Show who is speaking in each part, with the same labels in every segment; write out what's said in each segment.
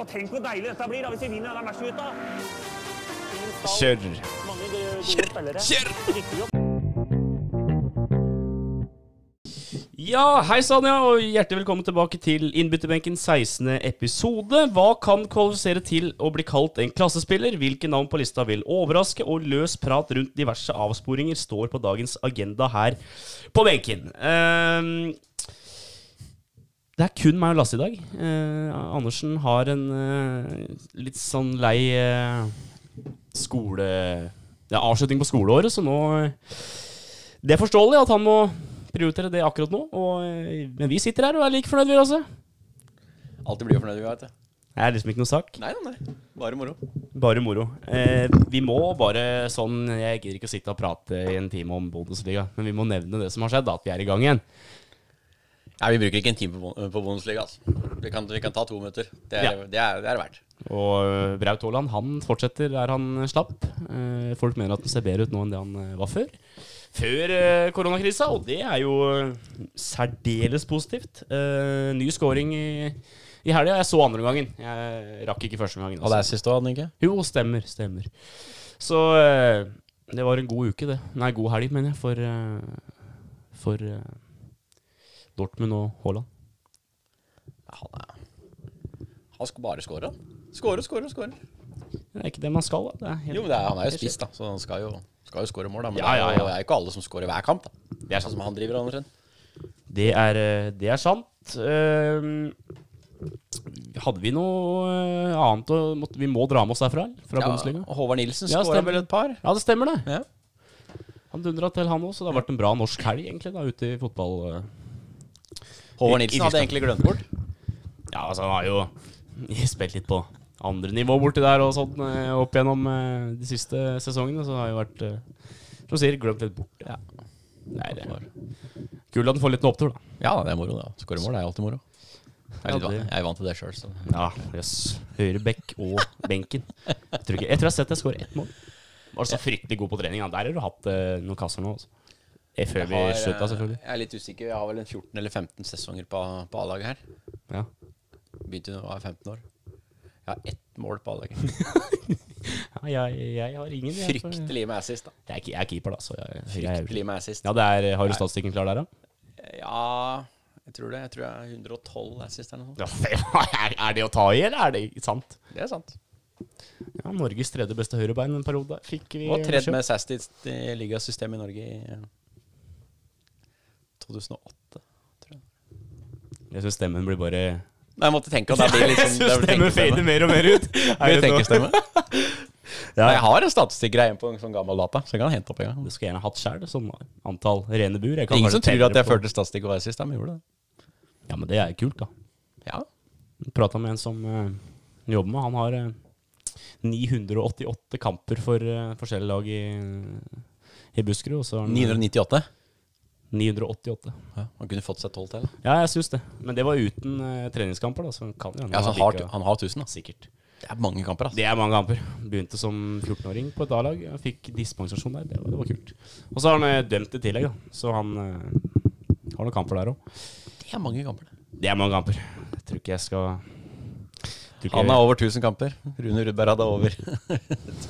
Speaker 1: og tenk hvor deilig dette blir da, hvis vi vinner denne matchen, gutta!
Speaker 2: Kjør.
Speaker 1: Mange gode spillere.
Speaker 2: Kjør!
Speaker 1: Riktig jobb.
Speaker 3: Ja, hei sann, ja, og hjertelig velkommen tilbake til Innbytterbenken 16. episode. Hva kan kvalifisere til å bli kalt en klassespiller? Hvilke navn på lista vil overraske? Og løs prat rundt diverse avsporinger står på dagens agenda her på benken. Ehm, det er kun meg og Lasse i dag. Eh, Andersen har en eh, litt sånn lei eh, skole... Det er avslutning på skoleåret, så nå eh, Det er forståelig at han må prioritere det akkurat nå. Og, eh, men vi sitter her og er like fornøyd, vi, altså.
Speaker 4: Alltid blir jo fornøyd, vet du.
Speaker 3: Det er liksom ikke noe sak.
Speaker 4: Nei, nei, nei. Bare moro.
Speaker 3: Bare moro. Eh, vi må bare sånn Jeg gidder ikke å sitte og prate i en time om Bundesliga, men vi må nevne det som har skjedd, da, at vi er i gang igjen.
Speaker 4: Ja, vi bruker ikke en time på, bon- på bonusliga, altså. Vi kan, vi kan ta to minutter. Det er
Speaker 3: Ja.
Speaker 4: det, er, det er verdt.
Speaker 3: Og eh, Braut Haaland han fortsetter der han slapp. Eh, folk mener at han ser bedre ut nå enn det han eh, var før. Før eh, koronakrisa, og det er jo eh, særdeles positivt. Eh, ny scoring i, i helga. Jeg så andre gangen. Jeg rakk ikke første gangen. altså.
Speaker 4: siste òg, Annike?
Speaker 3: Jo, stemmer, stemmer. Så eh, det var en god uke, det. Nei, god helg, mener jeg, for, eh, for eh, Dortmund og Haaland.
Speaker 4: Ja, han er Han skal bare score, han. Skåre, skåre, skåre.
Speaker 3: Det er ikke det man skal, da. Det er helt,
Speaker 4: Jo, men det er, han er jo spiss, da, så han skal jo, skal jo score mål, da. Men
Speaker 3: Ja,
Speaker 4: det, er,
Speaker 3: ja,
Speaker 4: jo-
Speaker 3: ja.
Speaker 4: det er jo ikke alle som scorer hver kamp, da.
Speaker 3: det er
Speaker 4: Sånn
Speaker 3: sånn
Speaker 4: som han driver, Andersen.
Speaker 3: Det er, eh, det er sant. Ehm, hadde vi noe eh, annet å måtte, Vi må dra med oss derfra? eller? Fra
Speaker 4: Ja,
Speaker 3: Bundesliga?
Speaker 4: og Håvard Nilsen
Speaker 3: Ja,
Speaker 4: skåra
Speaker 3: stemmer.
Speaker 4: vel et par?
Speaker 3: Ja, det stemmer, det.
Speaker 4: Ja.
Speaker 3: Han dundra til, han òg, så det har vært en bra norsk helg, egentlig, da, ute i fotball. eh.
Speaker 4: Håvard
Speaker 3: I- i
Speaker 4: Nilsen hadde
Speaker 3: Tyskland.
Speaker 4: egentlig glemt bort.
Speaker 3: Ja, altså, han har jo spilt litt på andre nivå borti der og sånn eh, opp gjennom eh, de siste sesongene, så det har jo vært eh, Som du sier, glemt litt bort. Ja. Nei, det er Kult at han får litt opptur, da.
Speaker 4: Ja, det er moro, det. Skåre mål er alltid moro. Jeg er,
Speaker 3: Ja,
Speaker 4: litt van-
Speaker 3: det-
Speaker 4: jeg er vant til det sjøl, så
Speaker 3: Ja, jøss. Høyre bekk og benken. Jeg tror, ikke, jeg tror jeg har sett deg skåre ett mål. Var så fryktelig god på trening. da. Der har du hatt eh, noen kasser nå. Altså. Eh, Før vi
Speaker 4: Jeg har,
Speaker 3: slutta,
Speaker 4: eh,
Speaker 3: selvfølgelig.
Speaker 4: Jeg er litt usikker. Jeg har vel en 14 eller 15 sesonger på, på A-laget her.
Speaker 3: Ja.
Speaker 4: Begynte da jeg var 15 år. Jeg har ett mål på A-laget.
Speaker 3: Ja, jeg, jeg har ingen. Jeg, jeg,
Speaker 4: Fryktelig med assist, da.
Speaker 3: er, ki- jeg er keeper, da, så jeg, jeg
Speaker 4: Fryktelig med assist.
Speaker 3: Ja, det er, Har du statistikken klar der, da?
Speaker 4: Ja, jeg tror det. Jeg tror jeg er 112 assist eller noe sånt.
Speaker 3: Ja, er er det å ta i, eller er det sant?
Speaker 4: Det er sant.
Speaker 3: Ja, Norges tredje beste høyrebein en periode. Fikk vi
Speaker 4: Og tredje
Speaker 3: beskjed om.
Speaker 4: med assist i ligasystemet i Norge i eh, 2008. tror jeg.
Speaker 3: Jeg syns stemmen blir bare
Speaker 4: Nei, jeg måtte tenke at det blir litt
Speaker 3: Jeg
Speaker 4: sånn
Speaker 3: syns stemmen fader mer og mer ut. Er
Speaker 4: Mye
Speaker 3: det noe-
Speaker 4: tenkestemme.
Speaker 3: Ja.
Speaker 4: Nei, Jeg har en statistikkgreie på en sånn gammel data, så jeg kan hente opp en gang.
Speaker 3: Det skulle jeg gjerne hatt sjøl, sånn antall rene bur. Jeg kan
Speaker 4: Ingen
Speaker 3: kanskje
Speaker 4: som tror at
Speaker 3: telle
Speaker 4: jeg
Speaker 3: på-
Speaker 4: førte statistikk og assist, da, men gjorde det.
Speaker 3: Ja, men det er kult, da.
Speaker 4: Ja,
Speaker 3: Prata med en som eh, jobber med. Han har eh, 988 kamper for eh, forskjellige lag i, i Buskerud. Og så har han, eh,
Speaker 4: 998.
Speaker 3: 988.
Speaker 4: Ja, han kunne fått seg 12 til. da.
Speaker 3: Ja, jeg syns det. Men det var uten eh, treningskamper, da. Så han kan jo hende
Speaker 4: Ja, så
Speaker 3: han
Speaker 4: han, har,
Speaker 3: ikke-
Speaker 4: han har 1000, da.
Speaker 3: Sikkert.
Speaker 4: Det er mange kamper, altså.
Speaker 3: Det er mange kamper. Begynte som 14-åring på et A-lag. Jeg Fikk dispensasjon der. Det var, det var kult. Og så har han eh, dømt i tillegg, da. Så han eh, har noen kamper der òg.
Speaker 4: Det er mange kamper. det.
Speaker 3: Det er mange kamper. Jeg tror ikke jeg skal tror ikke
Speaker 4: Han har over 1000 kamper. Rune Rudberg hadde over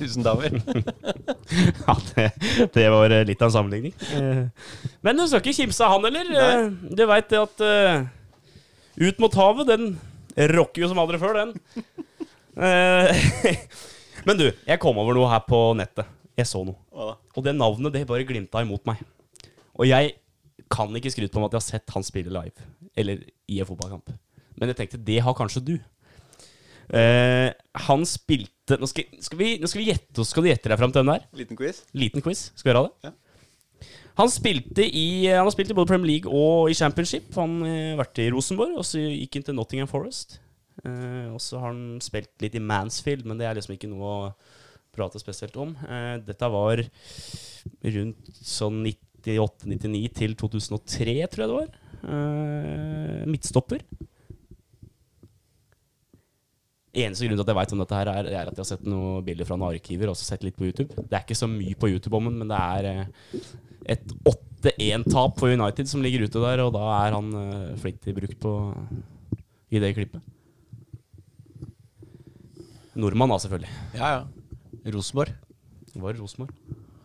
Speaker 4: 1000 damer.
Speaker 3: Ja, det, det var eh, litt av en sammenligning. Eh, Men du skal ikke kimse av han heller. Eh, Du veit det at eh, Ut mot havet, den rocker jo som aldri før, den. Eh, Men du, jeg kom over noe her på nettet. Jeg så noe.
Speaker 4: Hva da?
Speaker 3: Og det navnet, det bare glimta imot meg. Og jeg kan ikke skryte på meg at jeg har sett han spille live. Eller i en fotballkamp. Men jeg tenkte, det har kanskje du. Eh, han spilte Nå skal, skal, vi, nå skal vi gjette oss. Skal du gjette deg fram til hvem det er?
Speaker 4: Liten quiz.
Speaker 3: Liten quiz. Skal vi gjøre det? Han spilte i eh, Han har spilt i både Premier League og i Championship. Han har vært i Rosenborg, og så gikk han til Nottingham Forest. Eh, og så har han spilt litt i Mansfield, men det er liksom ikke noe å prate spesielt om. Eh, dette var rundt sånn 98-99 til 2003, tror jeg det var. Eh, midtstopper. Eneste grunn til at jeg veit om dette, her er, er at jeg har sett noen bilder fra noen arkiver og også sett litt på YouTube. Det er ikke så mye på YouTube om den, men det er eh, et 8-1-tap for United som ligger ute der, og da er han eh, flittig brukt på i det klippet. Nordmann, da, selvfølgelig.
Speaker 4: Ja, ja. Rosenborg?
Speaker 3: Var det Rosenborg?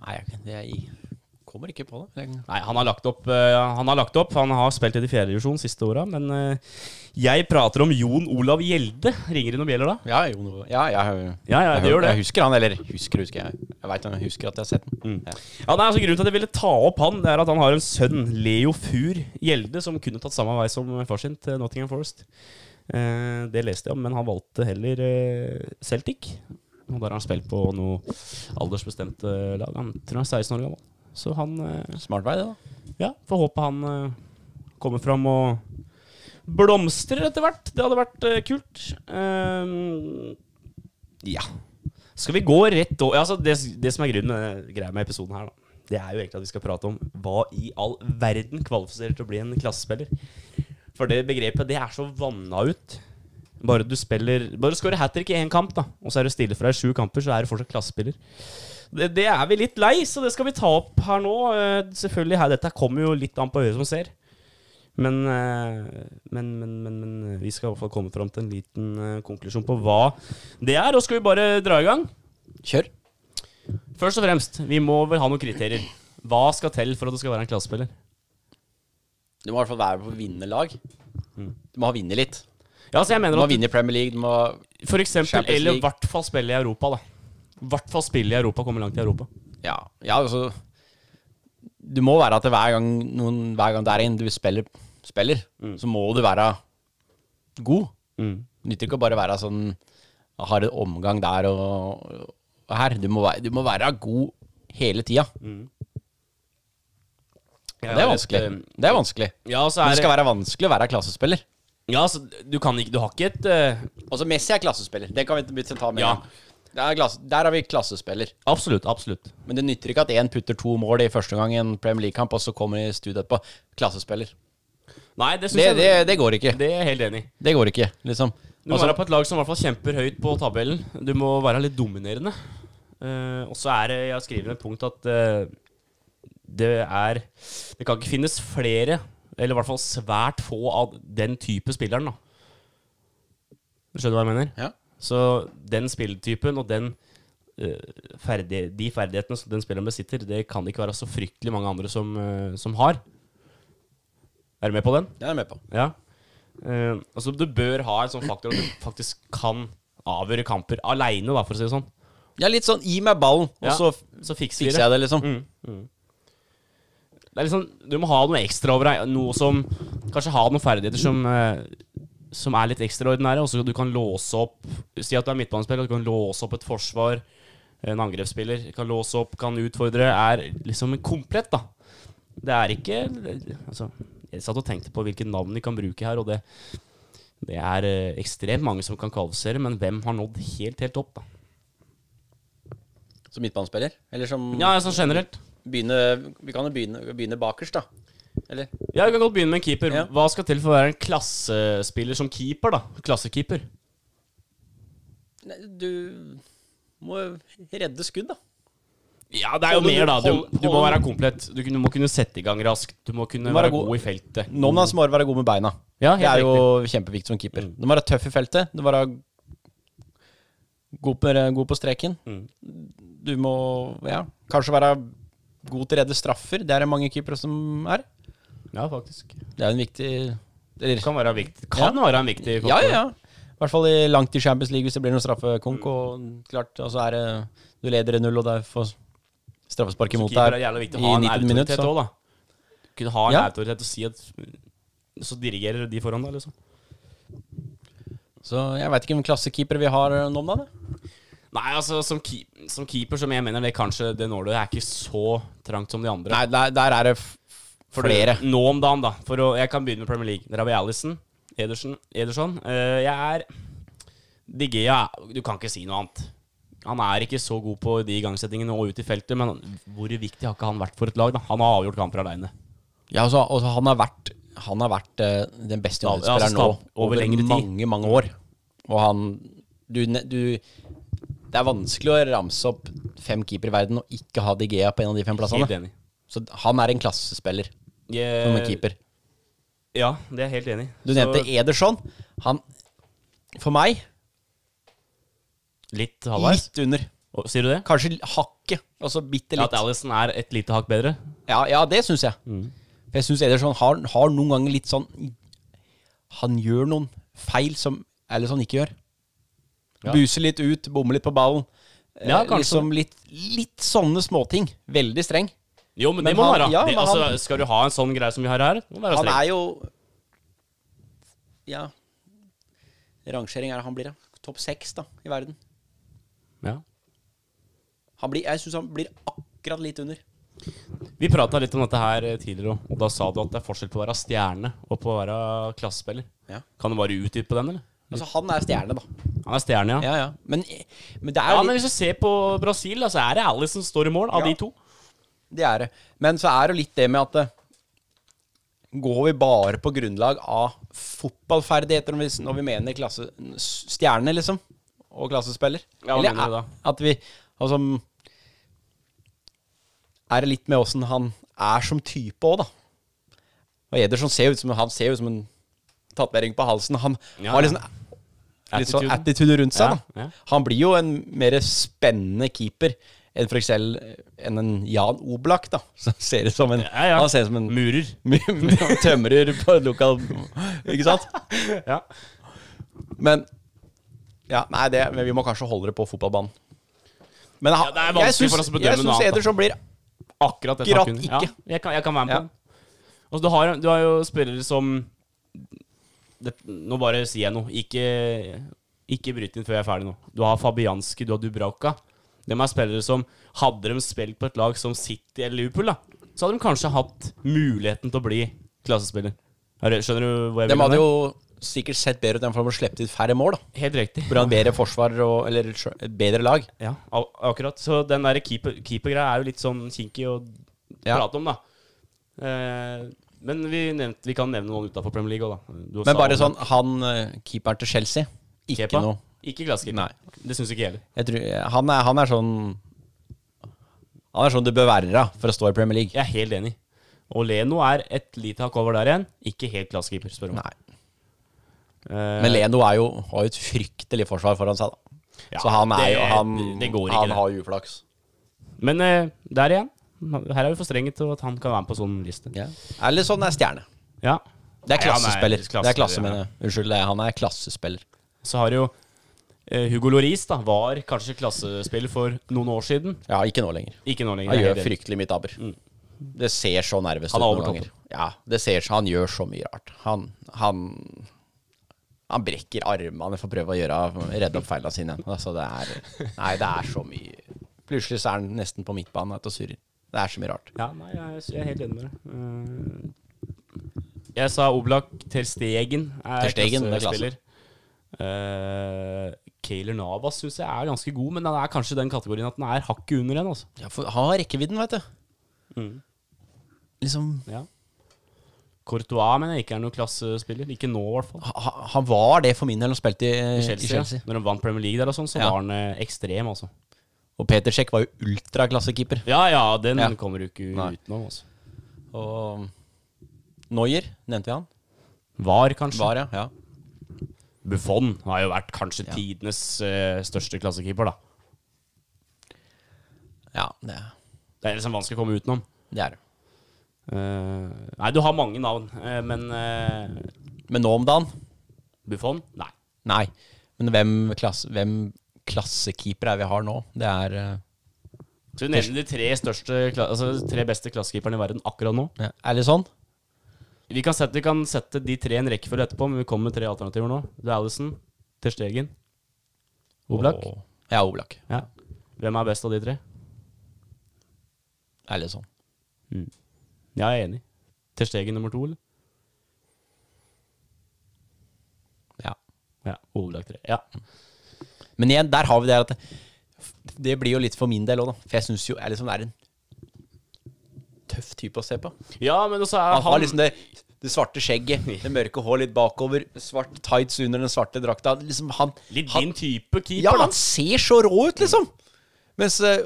Speaker 4: Nei, jeg, jeg kommer ikke på det. men Jeg,
Speaker 3: Nei, han har lagt opp. eh, han har lagt opp. Han har spilt i de fjerde divisjon siste åra, men eh, jeg prater om Jon Olav Gjelde. Ringer det noen bjeller da?
Speaker 4: ja, jo, ja, jeg,
Speaker 3: Ja, ja,
Speaker 4: jeg,
Speaker 3: det gjør det.
Speaker 4: Jeg husker han, eller husker, husker jeg. Jeg veit jeg husker at jeg har sett den. Ja.
Speaker 3: Ja, nei, altså Grunnen til at jeg ville ta opp han, det er at han har en sønn, Leo Fur Gjelde, som kunne tatt samme vei som far sin til Nottingham Forest. Eh, det leste jeg om, men han valgte heller eh, Celtic. Og der har han spilt på noe aldersbestemte lag. Han tror han er 16 år gammel. Så han eh,
Speaker 4: Smart vei, det, da.
Speaker 3: Ja, får håpe han eh, kommer fram og blomstrer etter hvert. Det hadde vært eh, kult. Eh, ja. Skal vi gå rett over altså det, det som er grunnen med, greia med episoden her, da, det er jo egentlig at vi skal prate om hva i all verden kvalifiserer til å bli en klassespiller. For det begrepet, det er så vanna ut. Bare du spiller Bare du skårer hat trick i én kamp, da, og så er du stille fra i sju kamper, så er du fortsatt klassespiller. Det, det er vi litt lei, så det skal vi ta opp her nå. Eh, Selvfølgelig, her, Dette kommer jo litt an på øyet som ser. Men, eh, men, men, men, men vi skal i hvert fall komme fram til en liten eh, konklusjon på hva det er. Og skal vi bare dra i gang?
Speaker 4: Kjør.
Speaker 3: Først og fremst, vi må vel ha noen kriterier. Hva skal til for at du skal være en klassespiller?
Speaker 4: Du må i hvert fall være på vinnerlag. Du må ha vinne litt.
Speaker 3: Ja, så jeg
Speaker 4: Du
Speaker 3: mener
Speaker 4: må
Speaker 3: at
Speaker 4: vinne i Premier League. Du må
Speaker 3: for eksempel,
Speaker 4: Champions
Speaker 3: eller i
Speaker 4: League.
Speaker 3: hvert fall spille i Europa, da. I hvert fall spille i Europa, komme langt i Europa.
Speaker 4: Ja, ja altså Du må være at det hver gang, noen, hver gang det er en du spiller, spiller så må du være god.
Speaker 3: Mm.
Speaker 4: Det nytter ikke å bare være sånn Har en omgang der og, og her. Du må, være, du må være god hele tida.
Speaker 3: Ja,
Speaker 4: Det er vanskelig. Det er vanskelig.
Speaker 3: Ja, så
Speaker 4: Men
Speaker 3: er
Speaker 4: det skal være vanskelig å være klassespiller.
Speaker 3: Ja, så du kan ikke Du har ikke et eh,
Speaker 4: Altså, Messi er klassespiller. Det kan vi ikke begynne å ta med.
Speaker 3: Ja.
Speaker 4: en gang. Det er klasse, der har vi klassespiller.
Speaker 3: Absolutt, absolutt.
Speaker 4: Men det nytter ikke at én putter to mål i første gang i en Premier League-kamp, og så kommer i studio etterpå. Klassespiller.
Speaker 3: Nei, det syns
Speaker 4: Det,
Speaker 3: jeg
Speaker 4: det, det går ikke.
Speaker 3: Det er jeg helt enig i.
Speaker 4: Det går ikke, liksom.
Speaker 3: Du må
Speaker 4: Altså,
Speaker 3: være på et lag som i hvert fall kjemper høyt på tabellen. Du må være litt dominerende. Eh, og så er det Jeg skriver et punkt at eh, det er Det kan ikke finnes flere, eller i hvert fall svært få, av den type spilleren, da. Du skjønner hva jeg mener?
Speaker 4: ja.
Speaker 3: Så den spilletypen og den eh, ferdi- de ferdighetene som den spilleren besitter, det kan det ikke være så fryktelig mange andre som, eh, som har. Er du med på den?
Speaker 4: Det er jeg med på.
Speaker 3: Ja. Eh, altså, du bør ha en sånn faktor at du faktisk kan avgjøre kamper aleine, for å si det sånn.
Speaker 4: Ja, litt sånn gi meg ballen, og
Speaker 3: Ja.
Speaker 4: så
Speaker 3: Så fikser vi det. Mm.
Speaker 4: fikser jeg det, liksom.
Speaker 3: det er liksom, du må ha noe ekstra over deg. Noe som Kanskje ha noen ferdigheter som, eh, som er litt ekstraordinære. Og så du kan låse opp Si at du er midtbanespiller, og du kan låse opp et forsvar. En angrepsspiller kan låse opp, kan utfordre. Er liksom komplett, da. Det er ikke altså, Jeg satt og tenkte på hvilke navn de kan bruke her, og det, det er eh, ekstremt mange som kan kvalifisere, men hvem har nådd helt, helt opp, da?
Speaker 4: Som midtbanespiller. Eller som
Speaker 3: Ja, sånn generelt.
Speaker 4: begynne, Vi kan jo begynne, begynne bakerst, da. Eller
Speaker 3: Ja, Vi kan godt begynne med en keeper.
Speaker 4: Ja.
Speaker 3: Hva skal til for å være en klassespiller som keeper? da? Klassekeeper.
Speaker 4: Nei, Du må redde skudd, da.
Speaker 3: Ja, det er jo
Speaker 4: Holde-
Speaker 3: mer, da. Du,
Speaker 4: holde-
Speaker 3: du må
Speaker 4: holde-
Speaker 3: være komplett. Du, kun- du må kunne sette i gang raskt. Du må kunne
Speaker 4: Du må
Speaker 3: være
Speaker 4: være
Speaker 3: god.
Speaker 4: god.
Speaker 3: i feltet.
Speaker 4: Nonnas må være god med beina.
Speaker 3: Ja,
Speaker 4: Det er
Speaker 3: helt
Speaker 4: jo
Speaker 3: riktig. Mm.
Speaker 4: kjempeviktig som keeper. Du må være tøff i feltet. Du må være god på, god på streken.
Speaker 3: Mm.
Speaker 4: Du må ja, kanskje være god til å redde straffer. Det er det mange keepere som er.
Speaker 3: Ja, faktisk. Det
Speaker 4: Det er en viktig eller,
Speaker 3: kan være en viktig, kan være en viktig
Speaker 4: Ja, ja, ja. I hvert fall i langt i Champions League hvis det blir noen straffekonk. Og klart, og så er det Du leder 1-0, og det får straffespark imot
Speaker 3: Keeper
Speaker 4: der
Speaker 3: er jævlig viktig å
Speaker 4: i
Speaker 3: ha en
Speaker 4: 90 minutter.
Speaker 3: autoritet òg, da. Kunne ha en
Speaker 4: Ja.
Speaker 3: autoritet og si at Så dirigerer de foran deg, liksom.
Speaker 4: Så jeg veit ikke hvilken klassekeeper vi har nå om dagen. da.
Speaker 3: Nei, altså, som, keep, som keeper, som jeg mener, det kanskje det nåløyet er ikke så trangt som de andre.
Speaker 4: Nei, der, der er det f
Speaker 3: For
Speaker 4: flere.
Speaker 3: det- Nå om dagen, da. For å, jeg kan begynne med Premier League. Der har vi Alison, Ederson. Ederson. Eh, jeg er De Gea Du kan ikke si noe annet. Han er ikke så god på de igangsettingene og ut i feltet, men han- hvor viktig har ikke han vært for et lag? da? Han har avgjort kamper aleine.
Speaker 4: Ja, altså, altså han har vært, han har vært eh, den beste
Speaker 3: Ja, altså,
Speaker 4: United-spilleren nå
Speaker 3: stab- over lengre tid.
Speaker 4: mange, mange år. Og han du, ne- du Det er vanskelig å ramse opp fem keepere i verden og ikke ha De Gea på en av de fem
Speaker 3: Helt
Speaker 4: plassene.
Speaker 3: enig.
Speaker 4: Så han er en klassespiller som en
Speaker 3: Jeg,
Speaker 4: keeper.
Speaker 3: ja, det er jeg helt enig i.
Speaker 4: Du
Speaker 3: Eh, Så-
Speaker 4: nevnte Ederson. Han For meg
Speaker 3: Litt halvveis?
Speaker 4: Litt under.
Speaker 3: Å, Sier du det?
Speaker 4: Kanskje hakket. Altså bitte
Speaker 3: At
Speaker 4: litt.
Speaker 3: Allison er Mm. et lite hakk bedre?
Speaker 4: Ja, ja det syns jeg. For jeg syns Ederson har, har noen ganger litt sånn Han gjør noen feil som Allison ikke gjør.
Speaker 3: Ja.
Speaker 4: Buser litt ut, bommer litt på ballen. Eh,
Speaker 3: Ja, kanskje.
Speaker 4: liksom litt, litt sånne småting. Veldig streng.
Speaker 3: Jo, men,
Speaker 4: Men
Speaker 3: det må
Speaker 4: han-
Speaker 3: være.
Speaker 4: ja,
Speaker 3: det,
Speaker 4: men
Speaker 3: altså,
Speaker 4: han-
Speaker 3: skal du ha en sånn greie som vi har her, må du være
Speaker 4: Han
Speaker 3: streng.
Speaker 4: er jo Ja. Rangering er det han blir, ja. Topp seks da, i verden.
Speaker 3: Ja.
Speaker 4: Han blir, jeg syns han blir akkurat litt under.
Speaker 3: Vi prata litt om dette her eh, tidligere òg, og da sa du at det er forskjell på å være stjerne og på å være klassespiller.
Speaker 4: Ja.
Speaker 3: Kan du bare utdype den, eller?
Speaker 4: Altså, han er stjerne, da.
Speaker 3: Han er stjerne, ja.
Speaker 4: Ja, ja. Men, men det er
Speaker 3: Ja,
Speaker 4: jo
Speaker 3: men
Speaker 4: litt
Speaker 3: Hvis du ser på Brasil, da, så er det Alice som står i mål, av
Speaker 4: Ja.
Speaker 3: de to.
Speaker 4: Det er det. Men så er det jo litt det med at eh, Går vi bare på grunnlag av fotballferdigheter når vi, når vi mener klasse, stjerne, liksom? Og klassespiller?
Speaker 3: Ja, hva mener du da?
Speaker 4: er- at vi Altså Er det litt med åssen han er som type òg, da? Og Ederson ser jo ut som han ser jo ut som en tatovering på halsen. Han
Speaker 3: Ja,
Speaker 4: har
Speaker 3: ja.
Speaker 4: liksom litt
Speaker 3: Attituden.
Speaker 4: sånn attitude rundt seg.
Speaker 3: Ja,
Speaker 4: da.
Speaker 3: ja.
Speaker 4: Han blir jo en mer spennende keeper enn for eksempel eh, enn en Jan Oblak, da. Som ser ut som en
Speaker 3: Ja, ja.
Speaker 4: Han ser ut som en
Speaker 3: Murer.
Speaker 4: tømrer på en lokal Ikke sant?
Speaker 3: Ja.
Speaker 4: Men Ja, nei, det, men vi må kanskje holde det på fotballbanen. Men han,
Speaker 3: Ja, det er vanskelig
Speaker 4: jeg syns-
Speaker 3: for oss å bedømme noe
Speaker 4: Jeg syns
Speaker 3: annet, da.
Speaker 4: Ederson blir
Speaker 3: Akkurat det
Speaker 4: Akkurat
Speaker 3: takken.
Speaker 4: ikke.
Speaker 3: Ja, jeg, kan, jeg kan være med
Speaker 4: Ja.
Speaker 3: på den. Altså, du, har, du har jo spillere som det, Nå bare sier jeg noe. Ikke, ikke bryt inn før jeg er ferdig nå. Du har Fabianski, du har Dubrauka. De er spillere som Hadde de spilt på et lag som City eller Liverpool, da, så hadde de kanskje hatt muligheten til å bli klassespiller. Er det- Skjønner du hvor jeg
Speaker 4: De
Speaker 3: vil? hen?
Speaker 4: hadde jo sikkert sett bedre ut enn for de hadde sluppet ut færre mål. da
Speaker 3: Helt riktig.
Speaker 4: Hvor han bedre forsvar og Eller et bedre lag.
Speaker 3: Ja, a- akkurat. Så den der keeper- keeper-greia er jo litt sånn kinky å
Speaker 4: Ja.
Speaker 3: prate om, da. Eh, men vi, nevnte, vi kan nevne noen utafor Premier League òg, da. Du sa
Speaker 4: Men bare
Speaker 3: om
Speaker 4: sånn, han eh, keeperen til Chelsea Ikke
Speaker 3: Kepa.
Speaker 4: noe
Speaker 3: Ikke glasskeeper.
Speaker 4: Nei.
Speaker 3: Det syns ikke jeg heller.
Speaker 4: jeg tror, han, er, han er sånn Han er sånn du bør være da, for å stå i Premier League.
Speaker 3: Jeg er helt enig. Og Leno er et lite hakk over der igjen. Ikke helt glasskeeper, spør du meg. Eh,
Speaker 4: Nei. Men Leno er jo, har jo et fryktelig forsvar foran seg, da.
Speaker 3: Ja,
Speaker 4: Så han er
Speaker 3: det-
Speaker 4: jo Han,
Speaker 3: det går ikke,
Speaker 4: han
Speaker 3: det.
Speaker 4: har jo uflaks.
Speaker 3: Men eh, der igjen. Her er vi for strenge til at han kan være med på sånn liste.
Speaker 4: Ja. Eller sånn er stjerne.
Speaker 3: Ja.
Speaker 4: Det
Speaker 3: Nei,
Speaker 4: er
Speaker 3: han er
Speaker 4: klassespiller. det er klasse,
Speaker 3: klassespiller, ja.
Speaker 4: mener jeg. Unnskyld, det er, han er klassespiller.
Speaker 3: Så har jo eh, Hugo Loris, da, var kanskje klassespiller for noen år siden.
Speaker 4: Ja, ikke nå lenger.
Speaker 3: Ikke nå lenger.
Speaker 4: Han
Speaker 3: jeg er
Speaker 4: gjør
Speaker 3: helt enig.
Speaker 4: fryktelig mye tabber. Det ser så nervøst ut
Speaker 3: Han har
Speaker 4: noen
Speaker 3: overtatt
Speaker 4: ganger. Ja, det ser så, han gjør så mye rart. Han, han, han brekker armene for å prøve å gjøre, redde opp feilene sine. Altså, det er, nei, det er så mye Plutselig så er han nesten på midtbanen vet du, og surrer. Det er så mye rart.
Speaker 3: Ja, nei, jeg, jeg er helt enig med deg. Eh, Jeg sa Oblak Ter Stegen er
Speaker 4: Ter Stegen, det er
Speaker 3: klassespiller. Uh, Kayler Navas syns jeg er ganske god, men han er kanskje i den kategorien at han er hakket under en. Altså.
Speaker 4: Ja, for han har rekkevidden, vet du. Mm. Liksom
Speaker 3: Ja. Courtois mener jeg ikke er noen klassespiller. Ikke nå, i hvert fall.
Speaker 4: ha- Han var det for min del, han spilte i,
Speaker 3: I
Speaker 4: i
Speaker 3: Chelsea,
Speaker 4: Chelsea.
Speaker 3: Ja. Når de vant Premier League der og sånn, så
Speaker 4: Ja.
Speaker 3: var han eh, ekstrem, altså.
Speaker 4: Og Peter Cech var jo ultraklassekeeper.
Speaker 3: Ja ja, den
Speaker 4: Ja.
Speaker 3: kommer du ikke
Speaker 4: Nei.
Speaker 3: utenom, altså.
Speaker 4: Og Neuer, nevnte vi han?
Speaker 3: Var, kanskje.
Speaker 4: Var, ja. ja.
Speaker 3: Buffon har jo vært kanskje tidenes eh, største klassekeeper, da.
Speaker 4: Ja, det,
Speaker 3: Det er liksom vanskelig å komme utenom.
Speaker 4: det er det.
Speaker 3: Eh, nei, du har mange navn, eh, men eh,
Speaker 4: Men nå om dagen?
Speaker 3: Buffon? Nei.
Speaker 4: Nei. Men hvem, klasse, hvem klassekeeper er vi har nå? Det er eh,
Speaker 3: Så du nevner de tre, største, kla- altså, de tre beste klassekeeperne i verden akkurat nå.
Speaker 4: Er det sånn?
Speaker 3: Vi kan sette, vi kan sette de tre i en rekkefølge etterpå, men vi kommer med tre alternativer nå. Det er Alison, Ter Stegen, Oblak.
Speaker 4: Og- Ja, Oblak.
Speaker 3: Ja. Hvem er best av de tre?
Speaker 4: Er det sånn?
Speaker 3: Ja, jeg er enig. Ter Stegen nummer to, eller?
Speaker 4: Ja.
Speaker 3: Ja. Oblak tre. Ja.
Speaker 4: Men igjen, der har vi det at det- Det blir jo litt for min del òg, da. For jeg syns jo Alisson er en tøff type å se på.
Speaker 3: ja, men også er
Speaker 4: Han har
Speaker 3: han
Speaker 4: liksom det, det svarte skjegget, det mørke hår litt bakover, svart tights under den svarte drakta. Liksom han
Speaker 3: litt
Speaker 4: han-
Speaker 3: din type keeper,
Speaker 4: Ja, han
Speaker 3: da.
Speaker 4: ser så rå ut, liksom! Mens eh,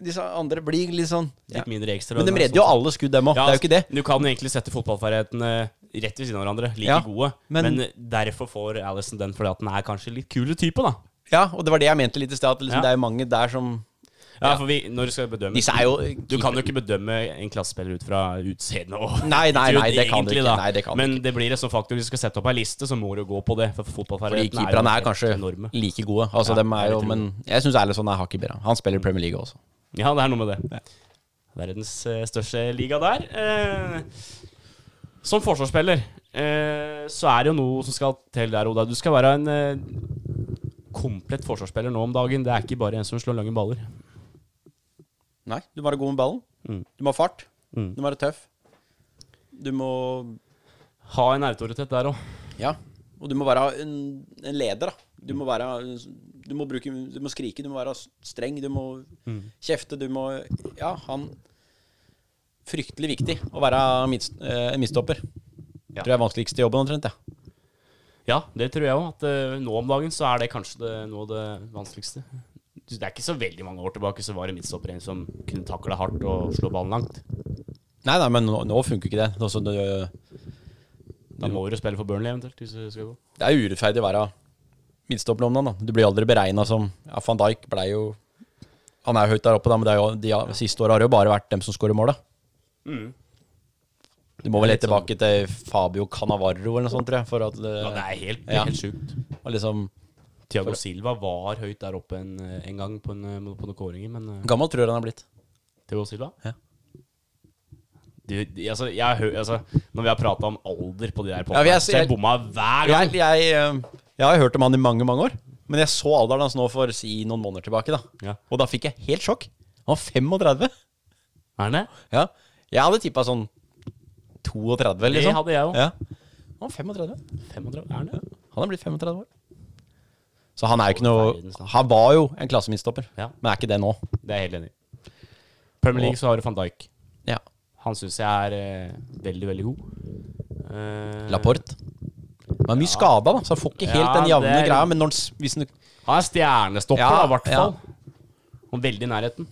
Speaker 4: disse andre blir litt sånn ja.
Speaker 3: Litt mindre ekstra.
Speaker 4: Men de redder jo alle skudd, dem òg.
Speaker 3: Ja,
Speaker 4: det er jo ikke det.
Speaker 3: altså, Du kan egentlig sette fotballferdighetene rett ved siden av hverandre, like
Speaker 4: Ja,
Speaker 3: gode. Men,
Speaker 4: men-
Speaker 3: derfor får Alison den fordi at den er kanskje litt kule type, da.
Speaker 4: Ja, og det var det jeg mente litt i sted, at liksom,
Speaker 3: Ja.
Speaker 4: det er jo mange der som
Speaker 3: Ja, for vi, når du skal bedømme
Speaker 4: Disse er jo
Speaker 3: Du kan jo ikke bedømme en klassespiller ut fra utseende og
Speaker 4: Nei, nei, nei, det kan du
Speaker 3: egentlig, da.
Speaker 4: ikke. Nei, det kan du
Speaker 3: Men det blir en sånn faktor. Hvis du skal sette opp ei liste, så må du gå på det. For
Speaker 4: Fordi
Speaker 3: fotballferdighetene
Speaker 4: keeperne er
Speaker 3: helt
Speaker 4: kanskje
Speaker 3: enorme.
Speaker 4: like gode. Altså,
Speaker 3: Ja,
Speaker 4: dem
Speaker 3: jeg
Speaker 4: er jo,
Speaker 3: tror
Speaker 4: men jeg syns Erlesson er hakket bedre. Han spiller i Premier League også.
Speaker 3: Ja, det er noe med det. Verdens eh, største liga der. Eh, som forsvarsspiller eh, så er det jo noe som skal til der, Oda. Du skal være en eh, komplett forsvarsspiller nå om dagen. Det er ikke bare en som slår lange baller.
Speaker 4: Nei, du må være god med ballen. Du må ha fart.
Speaker 3: Mm.
Speaker 4: Du må være tøff. Du må
Speaker 3: Ha en autoritet der òg.
Speaker 4: Ja. Og du må være en, en leder, da. Du må være Du må bruke Du må skrike, du må være streng, du må kjefte, du må Ja, han Fryktelig viktig å være midst, eh, midtstopper.
Speaker 3: Ja.
Speaker 4: Tror jeg er vanskeligste jobben, omtrent. Ja.
Speaker 3: Ja, det tror jeg òg. At eh, nå om dagen så er det kanskje det, noe av det vanskeligste. Det er ikke så veldig mange år tilbake så var det midtstopper en som kunne takle hardt og slå ballen langt.
Speaker 4: Nei, nei, men nå, nå funker ikke det. Det er også- det.
Speaker 3: Da må du spille for Burnley eventuelt, hvis du skal gå.
Speaker 4: Det er urettferdig å være midtstopper om dagen. da. Du blir aldri beregna som ja, Van Dijk blei jo Han er jo høyt der oppe, da, men det er jo, de ja, siste åra har det jo bare vært dem som skårer mål, da.
Speaker 3: Mm.
Speaker 4: Du må vel helt tilbake til Fabio Canavarro eller noe sånt, tror jeg. For at det,
Speaker 3: sånn- Ja, det er helt,
Speaker 4: Ja.
Speaker 3: helt sjukt.
Speaker 4: og liksom,
Speaker 3: Thiago Silva var høyt der oppe en, eh, en gang på, en, på noen kåringer, men eh,
Speaker 4: gammel tror jeg han er blitt.
Speaker 3: Thiago Silva?
Speaker 4: Ja.
Speaker 3: Du, de, altså, jeg, hø- altså, når vi har prata om alder på de der
Speaker 4: Ja, vi er-
Speaker 3: podkastene, jeg bomma hver gang!
Speaker 4: Jeg, jeg, eh, jeg har hørt om han i mange, mange år. Men jeg så alderen hans nå for si noen måneder tilbake, da.
Speaker 3: Ja.
Speaker 4: Og da fikk jeg helt sjokk. Han var 35.
Speaker 3: Er han det?
Speaker 4: Ja. Jeg hadde tippa sånn 32,
Speaker 3: Det
Speaker 4: liksom.
Speaker 3: hadde jeg òg.
Speaker 4: Ja. Han var 35.
Speaker 3: 35, er han det?
Speaker 4: Han er blitt 35 år. Så han er jo ikke
Speaker 3: Verdens
Speaker 4: noe
Speaker 3: navn.
Speaker 4: Han var jo en klassemidtstopper,
Speaker 3: Ja.
Speaker 4: men er ikke det nå.
Speaker 3: Det er jeg helt enig i. Premier League så har du van Dijk.
Speaker 4: Ja.
Speaker 3: Han syns jeg er eh, veldig, veldig god. Eh,
Speaker 4: Laporte. Men mye skada, da, så han får ikke helt
Speaker 3: Ja,
Speaker 4: den jevne
Speaker 3: det er-
Speaker 4: greia. Men når han s- hvis han
Speaker 3: Han er stjernestopper,
Speaker 4: Ja,
Speaker 3: da, i hvert
Speaker 4: ja.
Speaker 3: fall. Og veldig i nærheten.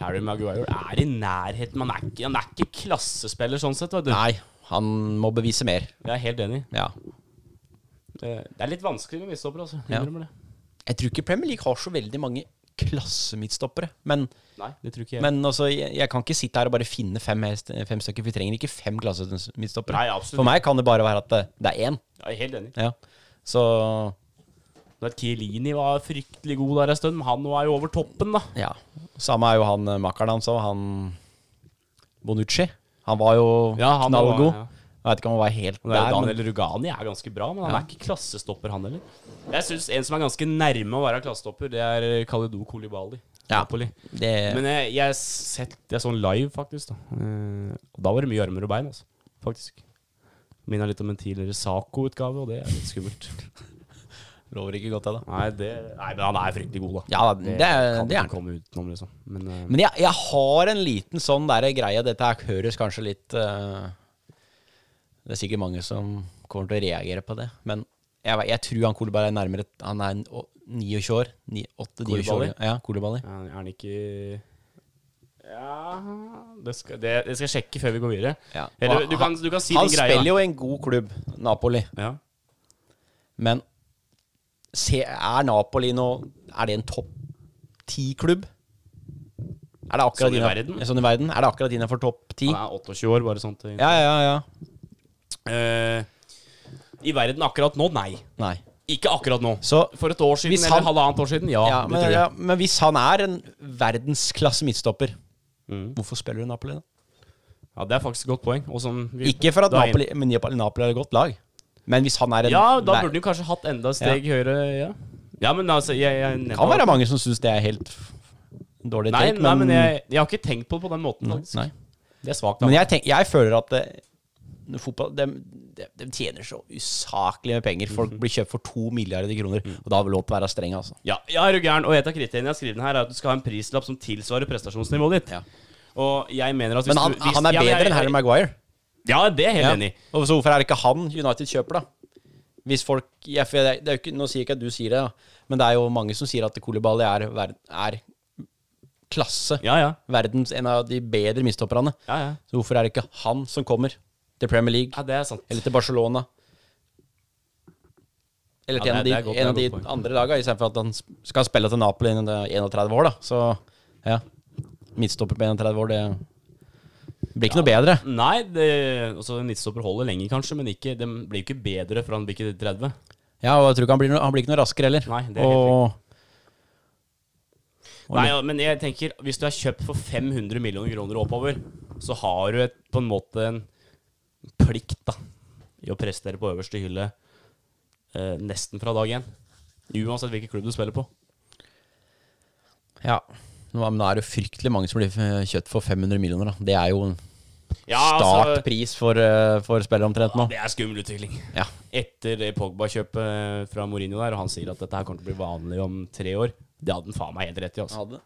Speaker 3: Harry Maguire er i nærheten, men han er ikke, han er ikke klassespiller sånn sett. Vet du.
Speaker 4: Nei, han må bevise mer.
Speaker 3: Jeg er helt enig.
Speaker 4: Ja.
Speaker 3: Det det er litt vanskelig med midtstopper, altså.
Speaker 4: Ja.
Speaker 3: Innrømmer det.
Speaker 4: Jeg tror ikke Premier League har så veldig mange klassemidtstoppere. Men,
Speaker 3: Nei, det tror ikke jeg.
Speaker 4: men altså, jeg, jeg kan ikke sitte her og bare finne fem, hest- fem stykker. for Vi trenger ikke fem klassemidtstoppere.
Speaker 3: Nei, absolutt
Speaker 4: For meg kan det bare være at det, det er én.
Speaker 3: Jeg er helt enig.
Speaker 4: Ja. Så
Speaker 3: Når Kielini var fryktelig god der en stund, men han nå er jo over toppen, da.
Speaker 4: Ja. Samme er jo han eh, makkeren hans òg, han Bonucci. Han var jo
Speaker 3: Ja, han
Speaker 4: knallgod.
Speaker 3: var- ja.
Speaker 4: Jeg vet ikke om han var helt
Speaker 3: Der,
Speaker 4: der, men
Speaker 3: Daniel Rugani er ganske bra, men han
Speaker 4: Ja.
Speaker 3: er ikke klassestopper, han heller. Jeg syns en som er ganske nærme å være klassestopper, det er Kalidou Kolibali.
Speaker 4: Ja.
Speaker 3: Napoli.
Speaker 4: det,
Speaker 3: Men jeg, jeg sett det sånn live, faktisk. Da Eh, Og da var det mye armer og bein, altså. Faktisk. Minner litt om en tidligere Saco-utgave, og det er litt skummelt.
Speaker 4: lover ikke godt, det, da.
Speaker 3: Nei, det, nei, men han er fryktelig god, da.
Speaker 4: Ja, det, det,
Speaker 3: kan
Speaker 4: det er
Speaker 3: ikke
Speaker 4: han.
Speaker 3: komme utenom, liksom. Men, eh,
Speaker 4: Men jeg, jeg har en liten sånn der greie Dette her høres kanskje litt eh, Det er sikkert mange som kommer til å reagere på det, men jeg, vet- jeg tror han Kolberg er nærmere Han er en å- 29 år. Ni- 8-29 år.
Speaker 3: Koulibaly?
Speaker 4: Ja, Kolibali.
Speaker 3: er er han ikke Ja det skal, det, det skal jeg sjekke før vi går videre.
Speaker 4: Ja.
Speaker 3: Eller, du, kan, du kan si
Speaker 4: han
Speaker 3: din greie.
Speaker 4: spiller
Speaker 3: da.
Speaker 4: jo i en god klubb, Napoli.
Speaker 3: Ja.
Speaker 4: Men se, er Napoli nå Er det en topp ti-klubb? Er det akkurat
Speaker 3: Sånn i
Speaker 4: inna-
Speaker 3: verden?
Speaker 4: Sånn i verden? Er det akkurat innenfor topp ti?
Speaker 3: Han er 28 år, bare sånt.
Speaker 4: Ja, ja, ja.
Speaker 3: Eh, I verden akkurat nå, nei.
Speaker 4: Nei.
Speaker 3: Ikke akkurat nå.
Speaker 4: Så
Speaker 3: For et år siden
Speaker 4: Hvis
Speaker 3: eller
Speaker 4: han-
Speaker 3: halvannet år siden, ja.
Speaker 4: ja,
Speaker 3: det
Speaker 4: men,
Speaker 3: tror jeg.
Speaker 4: ja, men hvis han er en verdensklasse midtstopper,
Speaker 3: Mm.
Speaker 4: hvorfor spiller du Napoli da?
Speaker 3: Ja, Det er faktisk et godt poeng. Og som vi-
Speaker 4: Ikke for at
Speaker 3: da er-
Speaker 4: Napoli Men Napoli, Napoli er et godt lag. Men hvis han er en
Speaker 3: Ja, da
Speaker 4: ver-
Speaker 3: burde du kanskje hatt enda et steg høyere. Ja. ja, men altså jeg, jeg,
Speaker 4: Det kan være mange som syns det er helt f- dårlig
Speaker 3: Nei,
Speaker 4: tenkt,
Speaker 3: nei, men jeg, jeg har ikke tenkt på det på den måten, faktisk.
Speaker 4: nei.
Speaker 3: Det er svakt.
Speaker 4: Men jeg, tenk, jeg føler at det, fotball de, de, de tjener så usaklig med penger.
Speaker 3: Mhm.
Speaker 4: Folk blir kjøpt for to milliarder kroner, og da har vi lov til å være streng, altså.
Speaker 3: Ja, ja er du gæren? Og et av kriteriene jeg har skrevet her, er at du skal ha en prislapp som tilsvarer prestasjonsnivået ditt.
Speaker 4: Ja.
Speaker 3: Og jeg mener at hvis
Speaker 4: Men han,
Speaker 3: du, hvis,
Speaker 4: han er
Speaker 3: ja, men
Speaker 4: bedre
Speaker 3: jeg-
Speaker 4: enn Harry Maguire.
Speaker 3: Ja, det er jeg helt
Speaker 4: Ja.
Speaker 3: enig i.
Speaker 4: Og så hvorfor er det ikke han United kjøper, da? Hvis folk ja, for det er jo ikke, Nå sier jeg ikke at du sier det, da. men det er jo mange som sier at Kolibali er, ver- er klasse.
Speaker 3: Ja, ja.
Speaker 4: Verdens en av de bedre mistopperne.
Speaker 3: Ja, ja.
Speaker 4: Så hvorfor er det ikke han som kommer til Premier League
Speaker 3: ja det er sant.
Speaker 4: eller til Barcelona? Eller til
Speaker 5: Ja,
Speaker 4: en,
Speaker 5: det- det
Speaker 4: av
Speaker 5: er
Speaker 4: de,
Speaker 5: godt,
Speaker 4: en av
Speaker 5: det
Speaker 4: de
Speaker 5: er godt poeng.
Speaker 4: andre laga, istedenfor at han sp- skal spille til Napoli innen det er 31 år, da. Så ja. Midtstopper på 31 år, det blir ikke noe bedre.
Speaker 3: Nei, det, altså en midtstopper holder lenger kanskje, men ikke, de blir jo ikke bedre fra han blir ikke 30.
Speaker 4: Ja, og jeg tror ikke han blir, noe, han blir ikke noe raskere heller.
Speaker 3: Nei, det er helt
Speaker 4: og
Speaker 3: Nei, ja, men jeg tenker, hvis du er kjøpt for 500 millioner kroner og oppover, så har du et, på en måte en plikt da, i å prestere på øverste hylle eh, nesten fra dag én. Uansett hvilken klubb du spiller på.
Speaker 4: ja. Nå, men nå er det jo fryktelig mange som blir f- kjøtt for 500 millioner, da. Det er jo en
Speaker 3: Ja, altså,
Speaker 4: startpris for, eh, for spillere omtrent nå.
Speaker 3: det er skummel utvikling.
Speaker 4: Ja.
Speaker 3: Etter det Pogba-kjøpet eh, fra Mourinho der, og han sier at dette her kommer til å bli vanlig om tre år. Det hadde han faen meg helt rett i, altså.